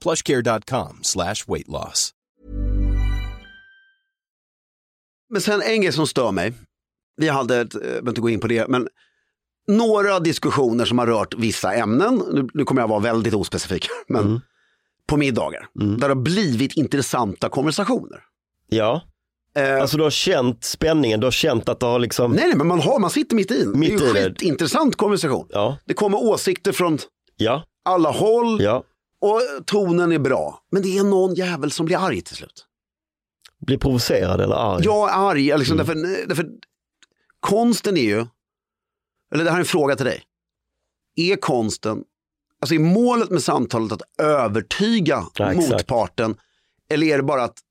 Speaker 6: plushcare.com slash weight loss.
Speaker 4: Men sen en grej som stör mig. Vi hade, ett, eh, jag behöver inte gå in på det, men några diskussioner som har rört vissa ämnen. Nu, nu kommer jag vara väldigt ospecifik, *laughs* men
Speaker 1: Mm.
Speaker 4: på middagar. Där det har blivit intressanta konversationer.
Speaker 1: Ja, Alltså,
Speaker 4: Eh,
Speaker 1: du har känt spänningen, du har känt att du har liksom...
Speaker 4: nej, nej, men man, har, man sitter mitt i den.
Speaker 1: Mitt
Speaker 4: det
Speaker 1: i
Speaker 4: är ju
Speaker 1: det.
Speaker 4: en skitintressant konversation.
Speaker 1: Ja,
Speaker 4: Det kommer åsikter från
Speaker 1: ja,
Speaker 4: alla håll
Speaker 1: ja.
Speaker 4: och tonen är bra. Men det är någon jävel som blir arg till slut.
Speaker 1: Blir provocerad eller arg.
Speaker 4: Jag är arg, jag
Speaker 1: Mm.
Speaker 4: liksom, därför, därför konsten är ju, eller det här är en fråga till dig. Är konsten, alltså är målet med samtalet att övertyga
Speaker 1: Ja, exakt.
Speaker 4: motparten? Eller är det bara att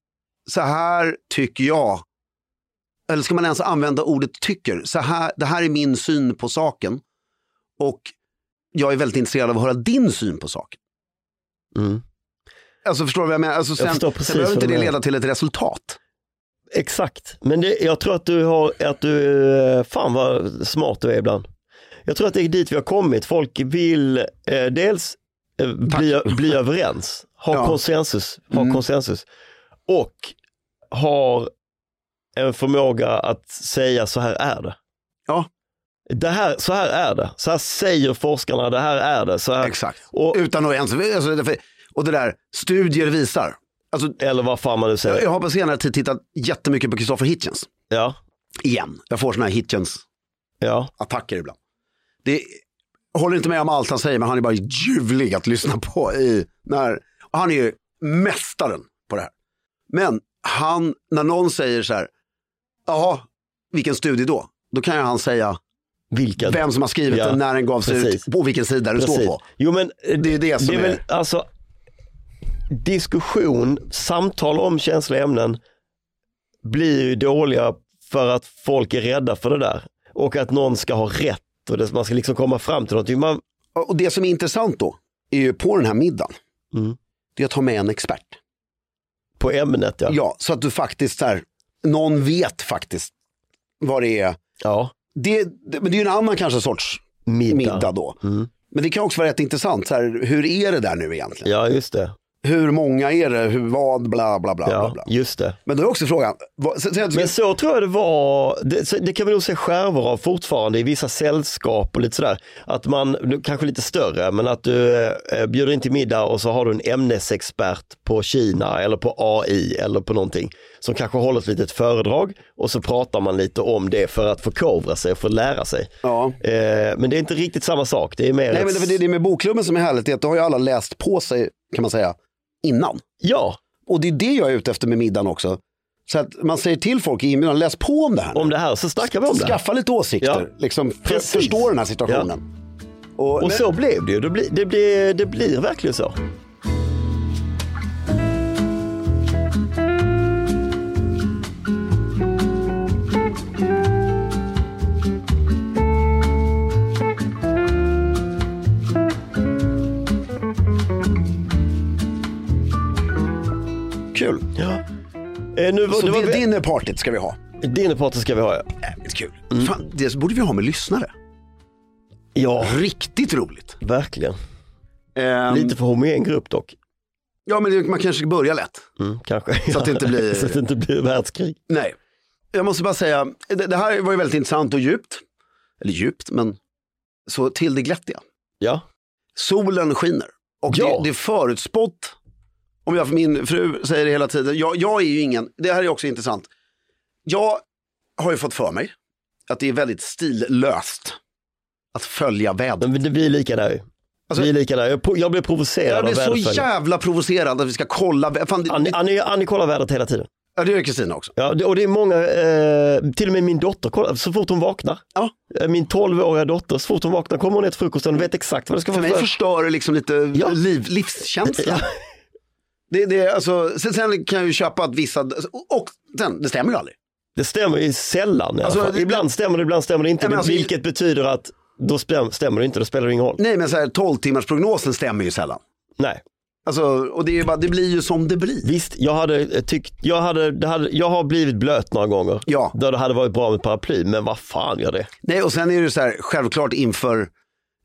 Speaker 4: så här tycker jag, eller ska man ens använda ordet tycker? Så här, det här är min syn på saken och jag är väldigt intresserad av att höra din syn på saken.
Speaker 1: Mm.
Speaker 4: Alltså förstår du vad jag menar? Alltså, sen,
Speaker 1: förstår precis
Speaker 4: sen behöver
Speaker 1: vad
Speaker 4: inte
Speaker 1: du
Speaker 4: det
Speaker 1: menar.
Speaker 4: leda till ett resultat.
Speaker 1: Exakt, men det, jag tror att du har, att du, eh, fan vad smart du är ibland. Jag tror att det är dit vi har kommit, folk vill eh, dels eh, bli, bli överens, ha
Speaker 4: Ja. Mm.
Speaker 1: konsensus, ha konsensus och har en förmåga att säga så här är det.
Speaker 4: Ja,
Speaker 1: det här, så här är det, så här säger forskarna, det här är det. Så här,
Speaker 4: Exakt.
Speaker 1: Och,
Speaker 4: Utan att ens... Alltså, därför- och det där, studier visar. Alltså,
Speaker 1: eller vad fan man nu
Speaker 4: jag,
Speaker 1: säger.
Speaker 4: jag har på senare tid tittat jättemycket på Christopher Hitchens.
Speaker 1: Ja,
Speaker 4: Igen. Jag får såna här Hitchens-attacker
Speaker 1: ja,
Speaker 4: ibland. Det, jag håller inte med om allt han säger, men han är bara ljuvlig att lyssna på. I, när, och han är ju mästaren på det här. Men han, när någon säger så här, jaha, vilken studie då? Då kan ju han säga
Speaker 1: vilken.
Speaker 4: vem som har skrivit
Speaker 1: Ja,
Speaker 4: den, när den gavs
Speaker 1: precis.
Speaker 4: ut, på vilken sida den står
Speaker 1: Precis.
Speaker 4: på.
Speaker 1: Jo men
Speaker 4: Det är det som
Speaker 1: det är
Speaker 4: är-
Speaker 1: väl, alltså diskussion, samtal om känsliga ämnen blir ju dåliga för att folk är rädda för det där och att någon ska ha rätt och det, man ska liksom komma fram till någonting. Man,
Speaker 4: Och det som är intressant då, är ju på den här middagen,
Speaker 1: Mm.
Speaker 4: det är att ta med en expert.
Speaker 1: på ämnet ja.
Speaker 4: Ja, så att du faktiskt så här, någon vet faktiskt vad det är
Speaker 1: ja.
Speaker 4: det, det, men det är ju en annan kanske sorts
Speaker 1: Middag. Mm.
Speaker 4: middag, då. Men det kan också vara rätt intressant, så här, hur är det där nu egentligen?
Speaker 1: Ja, just det.
Speaker 4: Hur många är det, hur vad, bla bla bla. bla,
Speaker 1: Ja,
Speaker 4: bla.
Speaker 1: just det.
Speaker 4: Men då är också frågan, vad, så, så jag,
Speaker 1: Men så tror jag det var, det, så- det kan vi nog se skärvor av fortfarande i vissa sällskap och lite sådär. Att man, nu kanske lite större, men att du eh, bjuder in till middag och så har du en ämnesexpert på Kina eller på AI eller på någonting som kanske håller ett litet föredrag och så pratar man lite om det för att förkovra sig och för att lära sig.
Speaker 4: ja.
Speaker 1: Eh, men det är inte riktigt samma sak, det är mer
Speaker 4: Nej, men
Speaker 1: ett-
Speaker 4: det, det är det med bokklubben som är härligt, det är att då har ju alla läst på sig, kan man säga, innan.
Speaker 1: Ja,
Speaker 4: Och det är det jag är ute efter med middagen också. Så att man säger till folk i inbjudan, läs på om det här. nu.
Speaker 1: om det här så snackar vi om det. här.
Speaker 4: Skaffa lite åsikter,
Speaker 1: Ja.
Speaker 4: liksom, för,
Speaker 1: Precis.
Speaker 4: förstå den här situationen. Och,
Speaker 1: Och
Speaker 4: men,
Speaker 1: så blev det ju, det blir, det blir, det blir verkligen så.
Speaker 4: Kul.
Speaker 1: Ja. Eh, nu, var-
Speaker 4: Så
Speaker 1: det var,
Speaker 4: det, det är partyt ska vi ha. Mm.
Speaker 1: Dinnerparty ska vi ha ja.
Speaker 4: Jävligt kul. Fan, det borde vi ha med lyssnare.
Speaker 1: Ja,
Speaker 4: Riktigt roligt.
Speaker 1: verkligen.
Speaker 4: Ehm,
Speaker 1: Lite för homogen grupp dock.
Speaker 4: Ja, men det- man kanske ska börja lätt.
Speaker 1: Mm, kanske.
Speaker 4: Så att det inte
Speaker 1: *laughs*
Speaker 4: blir-
Speaker 1: så att det inte blir världskrig.
Speaker 4: Nej. Jag måste bara säga, det, det här var ju väldigt intressant och djupt. Eller djupt, men så till det glättiga.
Speaker 1: Ja,
Speaker 4: Solen skiner. Och
Speaker 1: Ja.
Speaker 4: det, det är förutspått. Om jag, min fru säger det hela tiden. Jag, jag är ju ingen, det här är också intressant. Jag har ju fått för mig att det är väldigt stillöst att följa vädret.
Speaker 1: men det blir lika där ju.
Speaker 4: Alltså-
Speaker 1: vi är lika där. Jag, po- jag blir provocerad
Speaker 4: Jag blir
Speaker 1: av
Speaker 4: så
Speaker 1: väderföljden.
Speaker 4: jävla provocerad att vi ska kolla. vä- Fan, det,
Speaker 1: Annie, Annie, Annie kollar vädret hela tiden.
Speaker 4: ja, det gör Kristina också.
Speaker 1: Ja, det, och det är många, eh, till och med min dotter, kollar, så fort hon vaknar.
Speaker 4: Ja.
Speaker 1: Eh, Min 12-åriga dotter, så fort hon vaknar kommer hon ner till frukosten och vet exakt vad det ska
Speaker 4: För
Speaker 1: vara
Speaker 4: mig förstör det liksom lite
Speaker 1: Ja.
Speaker 4: liv, livskänsla.
Speaker 1: Ja.
Speaker 4: Det, det, är alltså, sen, sen kan jag ju köpa att vissa, och sen, det stämmer ju aldrig.
Speaker 1: Det stämmer ju sällan i alla
Speaker 4: Alltså,
Speaker 1: fall.
Speaker 4: det-
Speaker 1: Ibland stämmer det, ibland stämmer det inte.
Speaker 4: Nej, men alltså-
Speaker 1: vilket betyder att då stäm- stämmer det inte, då spelar det ingen roll.
Speaker 4: Nej men så här 12 timmars prognosen stämmer ju sällan.
Speaker 1: Nej.
Speaker 4: Alltså, och det, är ju bara, det blir ju som det blir.
Speaker 1: Visst, jag hade eh, tyckt, jag, hade, det hade, jag har blivit blöt några gånger.
Speaker 4: Ja.
Speaker 1: Där det hade varit bra med paraply, men vad fan gör det?
Speaker 4: Nej och sen är det ju så här, självklart inför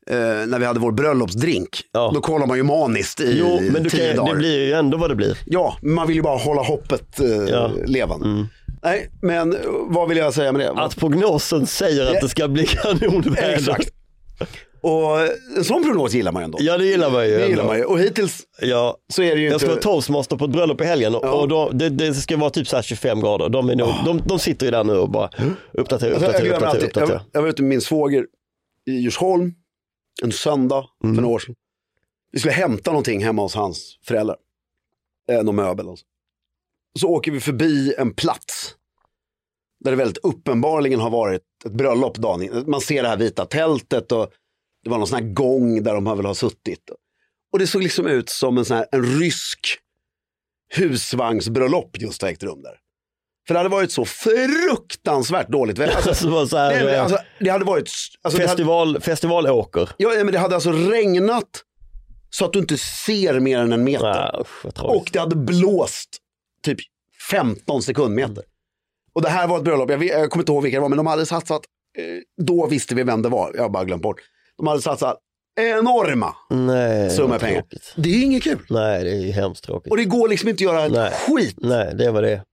Speaker 4: eh, när vi hade vår bröllopsdrink,
Speaker 1: Ja.
Speaker 4: då kollar man ju maniskt i
Speaker 1: Jo, men du kan,
Speaker 4: tio dagar.
Speaker 1: det blir ju ändå vad det blir.
Speaker 4: Ja, men man vill ju bara hålla hoppet eh,
Speaker 1: Ja. Mm.
Speaker 4: levande. Nej, men eh, vad vill jag säga med det?
Speaker 1: Att prognosen säger att
Speaker 4: Ja.
Speaker 1: det ska bli *laughs* kanonväder.
Speaker 4: Exakt.
Speaker 1: *laughs*
Speaker 4: Och eh, en sån prognos gillar man ju ändå.
Speaker 1: Ja, det gillar man ju.
Speaker 4: det
Speaker 1: ändå.
Speaker 4: gillar man ju. Och hittills
Speaker 1: Ja.
Speaker 4: så är det ju
Speaker 1: Jag
Speaker 4: inte...
Speaker 1: ska vara toastmaster på ett bröllop i helgen och,
Speaker 4: Ja.
Speaker 1: och då, det, det ska vara typ så här 25 grader. De, är nog, de, de sitter ju där nu och bara uppdatera,
Speaker 4: Alltså, jag,
Speaker 1: uppdatera,
Speaker 4: glömmer
Speaker 1: uppdatera.
Speaker 4: alltid, jag,
Speaker 1: uppdatera.
Speaker 4: jag var ute med min svåger i Djursholm en söndag för några år sedan. Vi skulle hämta någonting hemma hos hans föräldrar. Eh, någon möbel. Alltså. Så åker vi förbi en plats där det väldigt uppenbarligen har varit ett bröllop dagen innan. Man ser det här vita tältet och det var någon sån här gång där de har väl har suttit. Och det såg liksom ut som en sån här en rysk husvagnsbröllop just har ägt rum där. För det hade varit så fruktansvärt dåligt väder. Alltså,
Speaker 1: Så var det så här,
Speaker 4: Nej, men
Speaker 1: eh,
Speaker 4: alltså, det hade varit... Alltså, det, hade,
Speaker 1: festival, festivalåker.
Speaker 4: ja, nej, men det hade alltså regnat så att du inte ser mer än en meter.
Speaker 1: Ah, usch, vad
Speaker 4: Och
Speaker 1: tragiskt.
Speaker 4: det hade blåst typ 15 sekundmeter. Och det här var ett bröllop, jag, vet- jag kommer inte ihåg vilka det var, men de hade satsat, eh, då visste vi vem det var, jag har bara glömt bort. De hade satsat enorma
Speaker 1: Nej,
Speaker 4: summor
Speaker 1: vad
Speaker 4: pengar.
Speaker 1: tråkigt.
Speaker 4: Det är ju inget kul.
Speaker 1: Nej, det är ju hemskt tråkigt.
Speaker 4: Och det går liksom inte att göra ett
Speaker 1: Nej.
Speaker 4: skit.
Speaker 1: Nej, det var det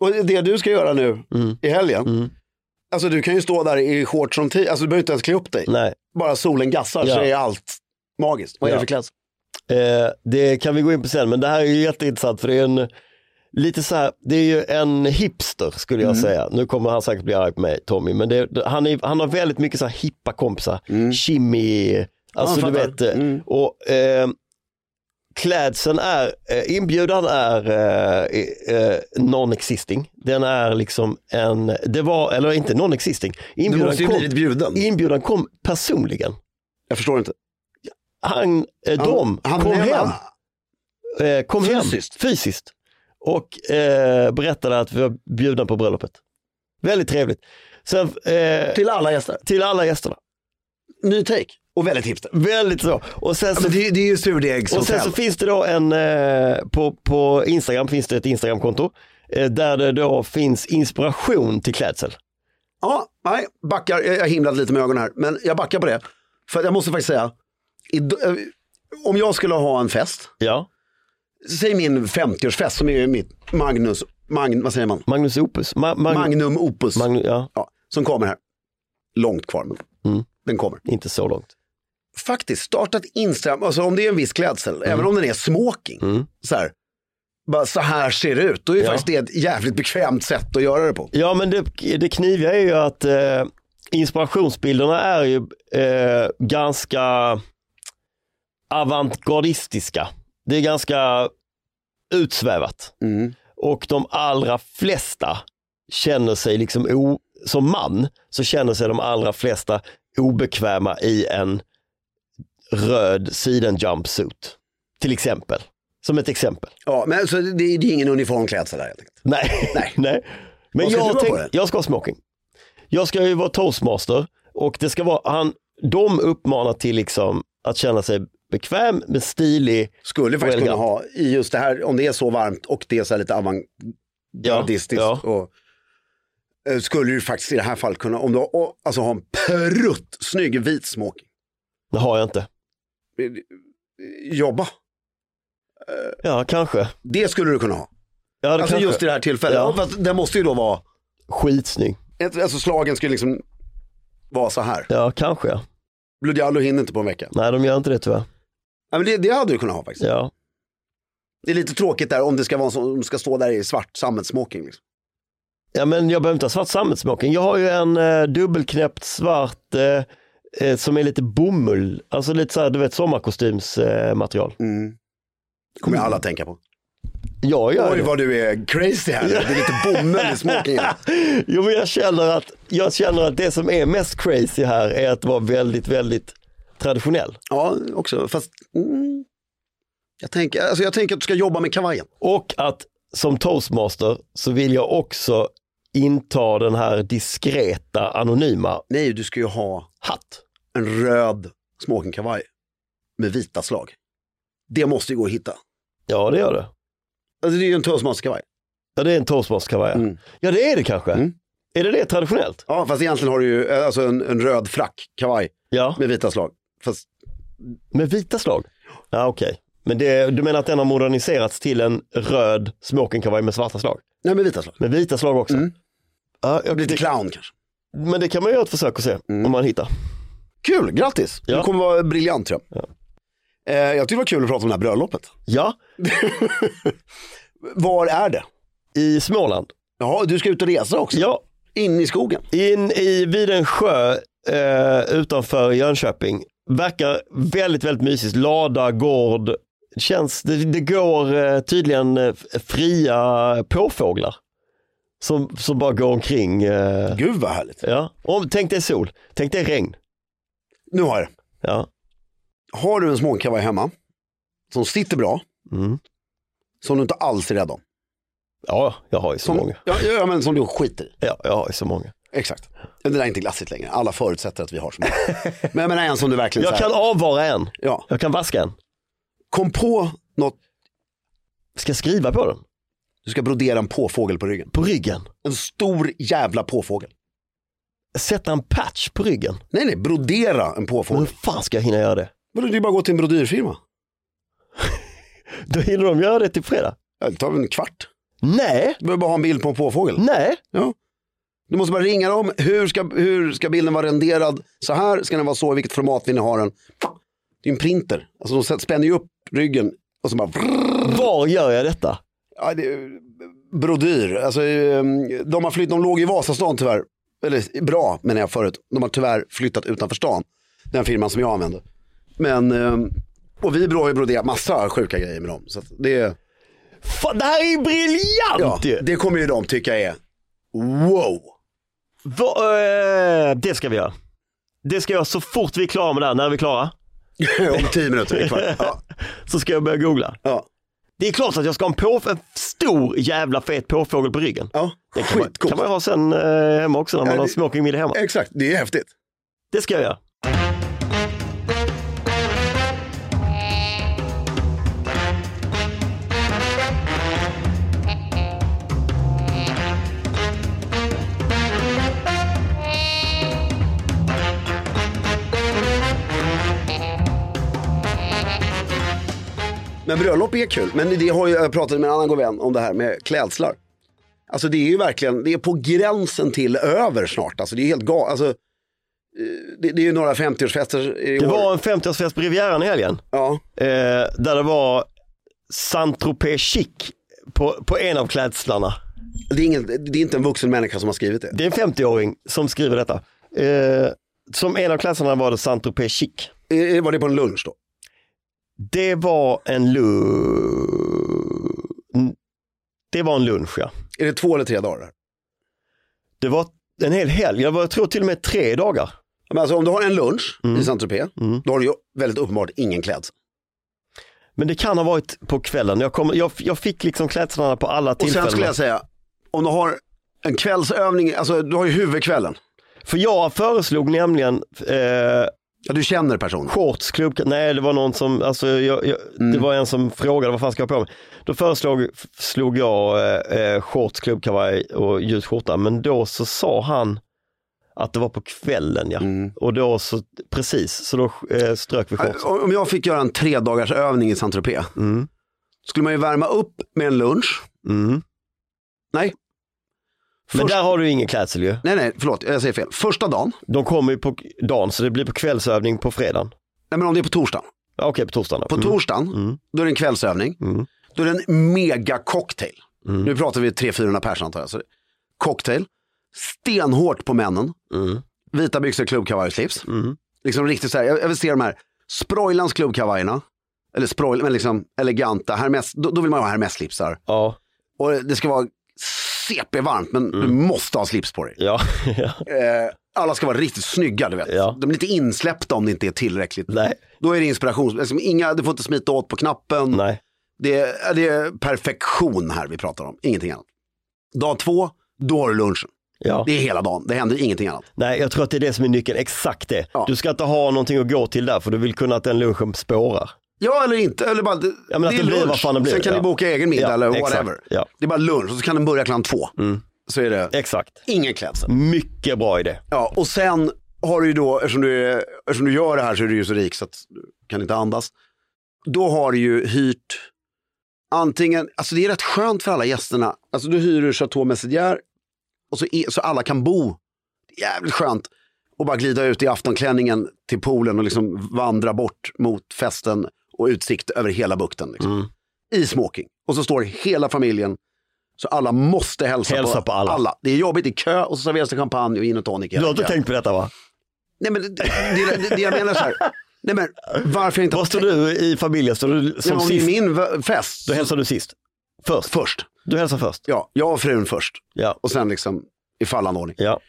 Speaker 4: Och det du ska göra nu
Speaker 1: Mm.
Speaker 4: i helgen,
Speaker 1: Mm.
Speaker 4: alltså du kan ju stå där i shorts som t- alltså du behöver inte ens klä upp dig.
Speaker 1: Nej.
Speaker 4: bara solen gassar
Speaker 1: Ja.
Speaker 4: så är allt magiskt. Vad är
Speaker 1: Ja.
Speaker 4: det för klädsel?
Speaker 1: Eh, det kan vi gå in på sen, men det här är ju jätteintressant för det är en Lite så här, det är ju en hipster skulle
Speaker 4: Mm.
Speaker 1: jag säga. Nu kommer han säkert bli arg på mig, Tommy, men det, det- han, är, han har väldigt mycket så här hippa kompisar. Kimi, alltså
Speaker 4: jag
Speaker 1: du vet.
Speaker 4: Mm. fattar. Mm.
Speaker 1: eh, Och eh, klädseln är, eh, inbjudan är eh, eh, non-existing. Den är liksom en, det var, eller inte non-existing. Inbjudan,
Speaker 4: måste ju
Speaker 1: kom,
Speaker 4: blivit bjuden.
Speaker 1: inbjudan kom personligen.
Speaker 4: Jag förstår inte.
Speaker 1: Han, eh, de,
Speaker 4: han
Speaker 1: kom
Speaker 4: blev-
Speaker 1: hem. eh, kom
Speaker 4: Fysiskt.
Speaker 1: hem fysiskt och eh, berättade att vi var bjudna på bröllopet. Väldigt trevligt. Sen, eh, till,
Speaker 4: Till alla gäster.
Speaker 1: till alla gästerna.
Speaker 4: Ny take. Och väldigt hipster.
Speaker 1: Väldigt så. Och sen så,
Speaker 4: Men det, är- det är ju
Speaker 1: och sen
Speaker 4: surdegshotell.
Speaker 1: så finns det då en, eh, på, på Instagram finns det ett Instagramkonto eh, där det då finns inspiration till klädsel.
Speaker 4: Ja, nej, backar. Jag, jag himlade lite med ögonen här, men jag backar på det. För jag måste faktiskt säga, id- eh, om jag skulle ha en fest,
Speaker 1: Ja.
Speaker 4: säg min 50-årsfest som är mitt Magnus, Magn, vad säger man?
Speaker 1: Magnus Opus. Ma- Mag-
Speaker 4: Magnum opus.
Speaker 1: Magnu- ja,
Speaker 4: ja, som kommer här. Långt kvar, men den kommer.
Speaker 1: inte så långt.
Speaker 4: Faktiskt, starta ett Instagram, alltså om det är en viss klädsel,
Speaker 1: Mm.
Speaker 4: även om den är smoking, så här, bara så här ser det ut, då är
Speaker 1: Ja.
Speaker 4: faktiskt det ett jävligt bekvämt sätt att göra det på.
Speaker 1: Ja, men det, det kniviga är ju att eh, inspirationsbilderna är ju eh, ganska avantgardistiska. Det är ganska utsvävat. Och de allra flesta känner sig liksom, o, som man, så känner sig de allra flesta obekväma i en röd sidenjumpsuit. Till exempel. Som ett exempel.
Speaker 4: Ja, men så det, det är ingen uniformklädsel där helt enkelt.
Speaker 1: Nej. *laughs* Nej. Men
Speaker 4: Vad ska du
Speaker 1: jag,
Speaker 4: vara
Speaker 1: tänk,
Speaker 4: på det?
Speaker 1: jag ska ha smoking. Jag ska ju vara toastmaster och det ska vara, han, de uppmanar till liksom att känna sig bekväm men stilig.
Speaker 4: Skulle
Speaker 1: Och
Speaker 4: faktiskt kunna
Speaker 1: elegant.
Speaker 4: ha i just det här, om det är så varmt och det är så här lite avantgardistiskt.
Speaker 1: Ja,
Speaker 4: och, eh, skulle du faktiskt i det här fallet kunna, om du har, och, alltså, har en pruttsnygg vit smoking,
Speaker 1: Det har jag inte.
Speaker 4: eh, jobba.
Speaker 1: Ja, kanske.
Speaker 4: Det skulle du kunna ha.
Speaker 1: Ja, det
Speaker 4: Alltså
Speaker 1: kanske.
Speaker 4: just i det här tillfället.
Speaker 1: Ja.
Speaker 4: Ja. fast den måste ju då vara,
Speaker 1: Skitsnygg.
Speaker 4: ett- alltså slagen skulle liksom vara så här.
Speaker 1: Ja, kanske. ja.
Speaker 4: Ludialo hinner inte på en vecka.
Speaker 1: Nej, de gör inte det tyvärr.
Speaker 4: Ja, men det, det hade du kunnat ha faktiskt.
Speaker 1: Ja.
Speaker 4: Det är lite tråkigt där om det ska, vara en sån, om det ska stå där i svart sammetssmoking. Liksom.
Speaker 1: ja, men jag behöver inte ha svart sammetsmoking. Jag har ju en eh, dubbelknäppt svart eh, eh, som är lite bomull, alltså lite så här, du vet sommarkostymsmaterial. Eh, material.
Speaker 4: Mm. Kommer alla att tänka på.
Speaker 1: jag gör
Speaker 4: Oj
Speaker 1: det.
Speaker 4: vad du är crazy här nu. Det är lite bomull i smokingen.
Speaker 1: Jo men jag känner, att, jag känner att det som är mest crazy här är att vara väldigt, väldigt traditionell.
Speaker 4: Ja, också. Fast mm, jag, tänker, alltså jag tänker att du ska jobba med kavajen.
Speaker 1: Och att som toastmaster så vill jag också inta den här diskreta, anonyma
Speaker 4: Nej, du ska ju ha
Speaker 1: hatt.
Speaker 4: en röd smokingkavaj med vita slag. Det måste ju gå att hitta.
Speaker 1: Ja det gör det.
Speaker 4: Alltså det är ju en toastmasterkavaj.
Speaker 1: Ja det är en toastmasterkavaj.
Speaker 4: Mm.
Speaker 1: Ja det är det kanske.
Speaker 4: Mm.
Speaker 1: Är det det traditionellt?
Speaker 4: Ja, fast egentligen har du ju eh, alltså en, en röd frack, kavaj
Speaker 1: Ja,
Speaker 4: med vita slag. Fast
Speaker 1: med vita slag. Ja okej. Men det, du menar att den har moderniserats till en röd smokingkavaj med svarta slag?
Speaker 4: Nej, med vita slag.
Speaker 1: Med vita slag också?
Speaker 4: Mm.
Speaker 1: Ja, jag,
Speaker 4: Lite
Speaker 1: det,
Speaker 4: clown kanske.
Speaker 1: men det kan man göra ett försök att se
Speaker 4: Mm.
Speaker 1: om man hittar.
Speaker 4: Kul, grattis.
Speaker 1: Ja.
Speaker 4: Du kommer vara briljant tror jag. Eh, jag tyckte det var kul att prata om det här bröllopet.
Speaker 1: Ja,
Speaker 4: Var är det?
Speaker 1: i Småland.
Speaker 4: Ja, du ska ut och resa också.
Speaker 1: Ja,
Speaker 4: In i skogen.
Speaker 1: in i, vid en sjö eh, utanför Jönköping. Verkar väldigt, väldigt mysigt. Lada, gård. Känns, det, det går eh, tydligen eh, f- fria påfåglar. Som, som bara går omkring. Eh,
Speaker 4: Gud vad härligt.
Speaker 1: ja. Om, tänk dig sol, tänk dig regn.
Speaker 4: Nu har jag det.
Speaker 1: Ja.
Speaker 4: Har du en småkavaj hemma som sitter bra,
Speaker 1: Mm.
Speaker 4: som du inte alls är rädd om.
Speaker 1: ja, jag har ju så
Speaker 4: Som,
Speaker 1: många.
Speaker 4: Ja, ja, men som du skiter i.
Speaker 1: Ja, jag har ju så många.
Speaker 4: Exakt. Men Det där är inte glassigt längre. Alla förutsätter att vi har så många. *laughs* men jag menar en som du verkligen
Speaker 1: Jag
Speaker 4: så här,
Speaker 1: kan avvara en,
Speaker 4: ja,
Speaker 1: jag kan vaska en.
Speaker 4: kom på något,
Speaker 1: Ska jag skriva på den?
Speaker 4: du ska brodera en påfågel på ryggen.
Speaker 1: På ryggen?
Speaker 4: En stor jävla påfågel.
Speaker 1: Sätta en patch på ryggen?
Speaker 4: Nej, nej, brodera en
Speaker 1: Men hur
Speaker 4: påfågel.
Speaker 1: fan ska jag hinna göra det?
Speaker 4: Vadå, det är bara att gå till en brodyrfirma.
Speaker 1: Då hinner de göra det till fredag?
Speaker 4: Ja, Det tar väl en kvart.
Speaker 1: Nej,
Speaker 4: Du behöver bara ha en bild på en påfågel.
Speaker 1: nej,
Speaker 4: Ja. Du måste bara ringa dem. Hur ska, hur ska bilden vara renderad? Så här ska den vara så. I vilket format vill ni ha den? Det är en printer. Alltså de sätter- spänner ju upp ryggen och så bara...
Speaker 1: var gör jag detta?
Speaker 4: Ja, det är brodyr. Alltså, ehm, de, har flytt, de låg i Vasastan tyvärr. Eller bra menar jag förut. De har tyvärr flyttat utanför stan. Den firman som jag använde. Men, ehm, och vi har ju broderat massa sjuka grejer med dem. Så att det,
Speaker 1: Fan, det här är ju
Speaker 4: ja,
Speaker 1: briljant ju!
Speaker 4: det kommer ju de tycka är
Speaker 1: *laughs*
Speaker 4: wow.
Speaker 1: Va, eh, det ska vi göra. Det ska jag så fort vi är klara med det här, när vi är klara,
Speaker 4: Om tio minuter, en kvart. Ja,
Speaker 1: så ska jag börja googla.
Speaker 4: ja,
Speaker 1: Det är klart att jag ska ha en, påf- en stor jävla fet påfågel på ryggen.
Speaker 4: ja.
Speaker 1: Det kan man,
Speaker 4: Skitcoolt.
Speaker 1: kan man ju ha sen eh, hemma också när man
Speaker 4: Ja,
Speaker 1: har
Speaker 4: det-
Speaker 1: smoking middag hemma.
Speaker 4: Exakt, det är häftigt.
Speaker 1: Det ska jag göra.
Speaker 4: Men bröllop är kul. Men det har ju, jag pratade med en annan god vän om det här med klädslar. Alltså det är ju verkligen, det är på gränsen till över snart. Alltså det är helt galet. Alltså, eh, det, det är ju några 50-årsfester i år.
Speaker 1: Det var en 50-årsfest på Rivieran i helgen.
Speaker 4: Ja,
Speaker 1: Eh, där det var Saint-Tropez chic på, på en av klädslarna.
Speaker 4: det är, ingen, det är inte en vuxen människa som har skrivit det.
Speaker 1: Det är en 50-åring som skriver detta. Eh, som en av klädslarna var det Saint-Tropez chic.
Speaker 4: Eh, Var det på en lunch då?
Speaker 1: Det var en lunch. Det var en lunch ja.
Speaker 4: Är det två eller tre dagar? där?
Speaker 1: Det var en hel helg, jag var- jag tror till och med tre dagar.
Speaker 4: Men alltså, om du har en lunch
Speaker 1: Mm.
Speaker 4: i Saint-Tropez, då har du ju väldigt uppenbart ingen klädsel.
Speaker 1: Men det kan ha varit på kvällen. Jag, kom, jag, jag fick liksom klädslarna på alla
Speaker 4: Och
Speaker 1: tillfällen.
Speaker 4: sen skulle jag säga, om du har en kvällsövning, alltså du har ju huvudkvällen.
Speaker 1: För jag föreslog nämligen eh,
Speaker 4: Ja, du känner personen.
Speaker 1: shorts, klubka, nej det var någon som, alltså, jag, jag, det
Speaker 4: Mm.
Speaker 1: var en som frågade vad fan ska jag ha på mig. Då föreslog slog jag eh, eh, shorts, klubbkavaj och ljus skjorta, men då så sa han att det var på kvällen ja.
Speaker 4: Mm.
Speaker 1: Och då så, precis, så då eh, strök vi shorts.
Speaker 4: Om om jag fick göra en tre dagars övning i Saint-Tropez, skulle man ju värma upp med en lunch.
Speaker 1: Mm.
Speaker 4: Nej.
Speaker 1: Men
Speaker 4: Först-
Speaker 1: där har du ingen klädsel ju.
Speaker 4: Nej, nej, förlåt, jag säger fel. Första dagen,
Speaker 1: De kommer ju på dagen så det blir på kvällsövning på fredagen.
Speaker 4: nej men om det är på torsdagen.
Speaker 1: Ja, Okej, på torsdagen. då.
Speaker 4: På
Speaker 1: Mm.
Speaker 4: torsdagen, då är det en kvällsövning. Då är det en mega cocktail.
Speaker 1: Mm.
Speaker 4: Nu pratar vi 300-400 pers antar jag. Så det- cocktail, stenhårt på männen.
Speaker 1: Mm.
Speaker 4: Vita byxor, klubbkavaj och slips. Liksom riktigt så här, jag, jag vill se de här Sproilans klubbkavajerna. Eller Sproil, men liksom eleganta. Hermes, då, då vill man ha Hermes-slipsar.
Speaker 1: Ja,
Speaker 4: Och det ska vara CP-varmt, men du
Speaker 1: Mm.
Speaker 4: måste ha slips på dig.
Speaker 1: ja, *laughs* ja.
Speaker 4: Eh, alla ska vara riktigt snygga, du vet.
Speaker 1: Ja.
Speaker 4: De blir inte insläppta om det inte är tillräckligt.
Speaker 1: Nej.
Speaker 4: Då är det inspiration. Liksom inga, du får inte smita åt på knappen.
Speaker 1: nej.
Speaker 4: Det, är, det är perfektion här vi pratar om, ingenting annat. Dag två, då har du lunchen.
Speaker 1: Ja.
Speaker 4: Det är hela dagen, det händer ingenting annat.
Speaker 1: nej, jag tror att det är det som är nyckeln, exakt det.
Speaker 4: Ja.
Speaker 1: Du ska inte ha någonting att gå till där för du vill kunna att den lunchen spårar.
Speaker 4: Ja eller inte, eller bara,
Speaker 1: Ja, men att det blir vad fan det blir,
Speaker 4: Sen kan
Speaker 1: ja.
Speaker 4: ni boka egen middag
Speaker 1: Ja,
Speaker 4: eller
Speaker 1: exakt, Mm.
Speaker 4: whatever.
Speaker 1: ja.
Speaker 4: Det är bara lunch och så kan den börja klockan två. Så är det
Speaker 1: Exakt,
Speaker 4: ingen klädsel.
Speaker 1: mycket bra idé.
Speaker 4: Ja, och sen har du ju då, eftersom du, är, eftersom du gör det här så är du ju så rik så att du kan inte andas. Då har du ju hyrt antingen, alltså det är rätt skönt för alla gästerna, alltså du hyr du Chateau Messedier och så, är, så alla kan bo. Det är jävligt skönt. Och bara glida ut i aftonklänningen till poolen och liksom vandra bort mot festen och utsikt över hela bukten. Liksom.
Speaker 1: Mm.
Speaker 4: I smoking. Och så står hela familjen, så alla måste hälsa,
Speaker 1: Hälsa på alla.
Speaker 4: Det är jobbigt i kö och så serveras det champagne och gin och tonic. i
Speaker 1: Du
Speaker 4: hela
Speaker 1: har inte
Speaker 4: kön.
Speaker 1: tänkt på detta va?
Speaker 4: Nej men det, det, det, det jag menar så här. Nej men varför jag inte
Speaker 1: Vad står du i familjen? Står du
Speaker 4: Nej,
Speaker 1: som
Speaker 4: men om det är
Speaker 1: sist?
Speaker 4: min v- fest.
Speaker 1: Då hälsar du sist. Först.
Speaker 4: Först.
Speaker 1: Du hälsar först.
Speaker 4: Ja, jag och frun först.
Speaker 1: Ja.
Speaker 4: Och sen liksom i fallande ordning.
Speaker 1: Ja,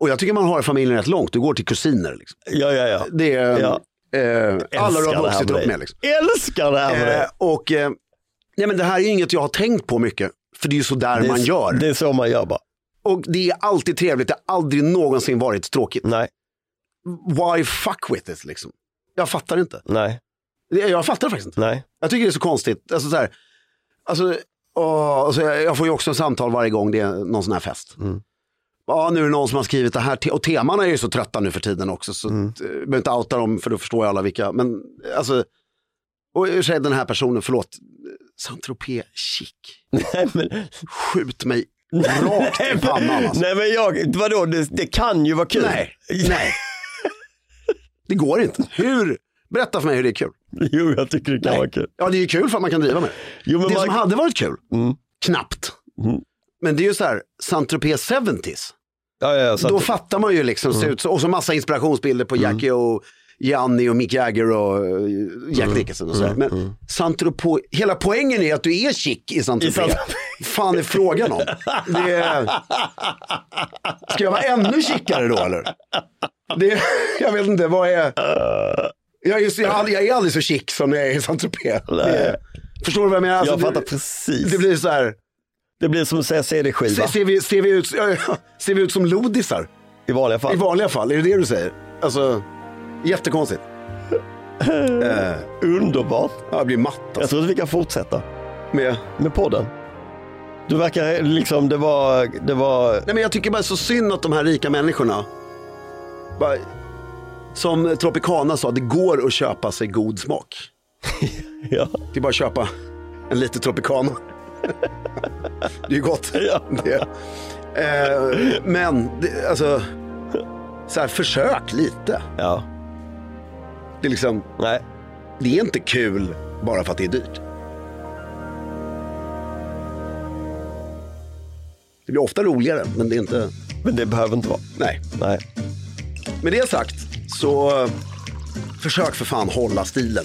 Speaker 4: Och jag tycker man har familjen rätt långt. Du går till kusiner liksom.
Speaker 1: ja, ja. ja.
Speaker 4: Det är
Speaker 1: Ja.
Speaker 4: eh, alla du
Speaker 1: Älskar
Speaker 4: har
Speaker 1: det här
Speaker 4: vuxit upp
Speaker 1: dig.
Speaker 4: med liksom.
Speaker 1: Älskar det här med
Speaker 4: Eh,
Speaker 1: dig.
Speaker 4: och eh, nej men det här är ju inget jag har tänkt på mycket. För det är ju så där
Speaker 1: Det är
Speaker 4: man
Speaker 1: s-
Speaker 4: gör.
Speaker 1: Det är så man gör bara.
Speaker 4: Och det är alltid trevligt. Det har aldrig någonsin varit tråkigt.
Speaker 1: Nej,
Speaker 4: Why fuck with it liksom? Jag fattar inte.
Speaker 1: nej,
Speaker 4: Jag jag fattar faktiskt inte.
Speaker 1: nej.
Speaker 4: Jag tycker det är så konstigt. Alltså, så här, alltså, åh, alltså, jag jag får ju också samtal varje gång det är någon sån här fest. Ja, nu är det någon som har skrivit det här. te- Och temana är ju så trötta nu för tiden också. Så att, eh, jag behöver inte outa dem för då förstår ju alla vilka. Men alltså, och i och för sig den här personen, förlåt. Saint-Tropez chic.
Speaker 1: nej men,
Speaker 4: Skjut mig rakt i pannan alltså.
Speaker 1: Nej men jag, vadå, det, det kan ju vara kul.
Speaker 4: Nej, nej. Det går inte. Hur? Berätta för mig hur det är kul.
Speaker 1: *laughs* Jo, jag tycker det kan vara kul.
Speaker 4: Ja, det är ju kul för att man kan driva med det.
Speaker 1: Jo, men Mm.
Speaker 4: det
Speaker 1: man-
Speaker 4: som hade varit kul, knappt. Men det är ju så här, Saint-Tropez 70s.
Speaker 1: Ja, ja, ja, så
Speaker 4: Då
Speaker 1: att, Mm.
Speaker 4: fattar man ju liksom, ser ut så, och så massa inspirationsbilder på Jackie och Gianni och Mick Jagger och eh, Jack
Speaker 1: Mm.
Speaker 4: Nicholson och sådär. Men Saint-Tropez, hela poängen är att du är chic i Saint-Tropez. fan är frågan om? Det är... Ska jag vara ännu chicare då eller? Det är... Jag vet inte, vad är... Jag är, så, jag är aldrig, jag är aldrig så chic som jag är i Saint-Tropez. Det är- Förstår du vad jag menar?
Speaker 1: jag
Speaker 4: Alltså,
Speaker 1: fattar
Speaker 4: det,
Speaker 1: precis.
Speaker 4: det blir så här,
Speaker 1: Det blir som att säga
Speaker 4: se-
Speaker 1: CD-skiva
Speaker 4: ser vi, ser, vi ut, ser vi ut som lodisar?
Speaker 1: i vanliga
Speaker 4: I
Speaker 1: fall.
Speaker 4: vanliga fall, är det det du säger? Alltså, jättekonstigt.
Speaker 1: Underbart.
Speaker 4: Ja, Jag blir matt
Speaker 1: Jag
Speaker 4: alltså.
Speaker 1: tror att vi kan fortsätta
Speaker 4: Med...
Speaker 1: med podden. Du verkar liksom, det var, det var, *laughs*
Speaker 4: Nej men jag tycker bara så synd att de här rika människorna, bara, som Tropicana sa, det går att köpa sig god smak.
Speaker 1: Ja.
Speaker 4: Det är bara att köpa en liter Tropicana. *laughs* Det är ju gott.
Speaker 1: Ja.
Speaker 4: Det. Eh, men, det, alltså, så här, försök lite.
Speaker 1: ja.
Speaker 4: Det är, liksom,
Speaker 1: Nej.
Speaker 4: det är inte kul bara för att det är dyrt. Det blir ofta roligare, men det är inte...
Speaker 1: Men det behöver inte vara.
Speaker 4: Nej.
Speaker 1: Nej.
Speaker 4: Med det sagt, så eh, försök för fan hålla stilen.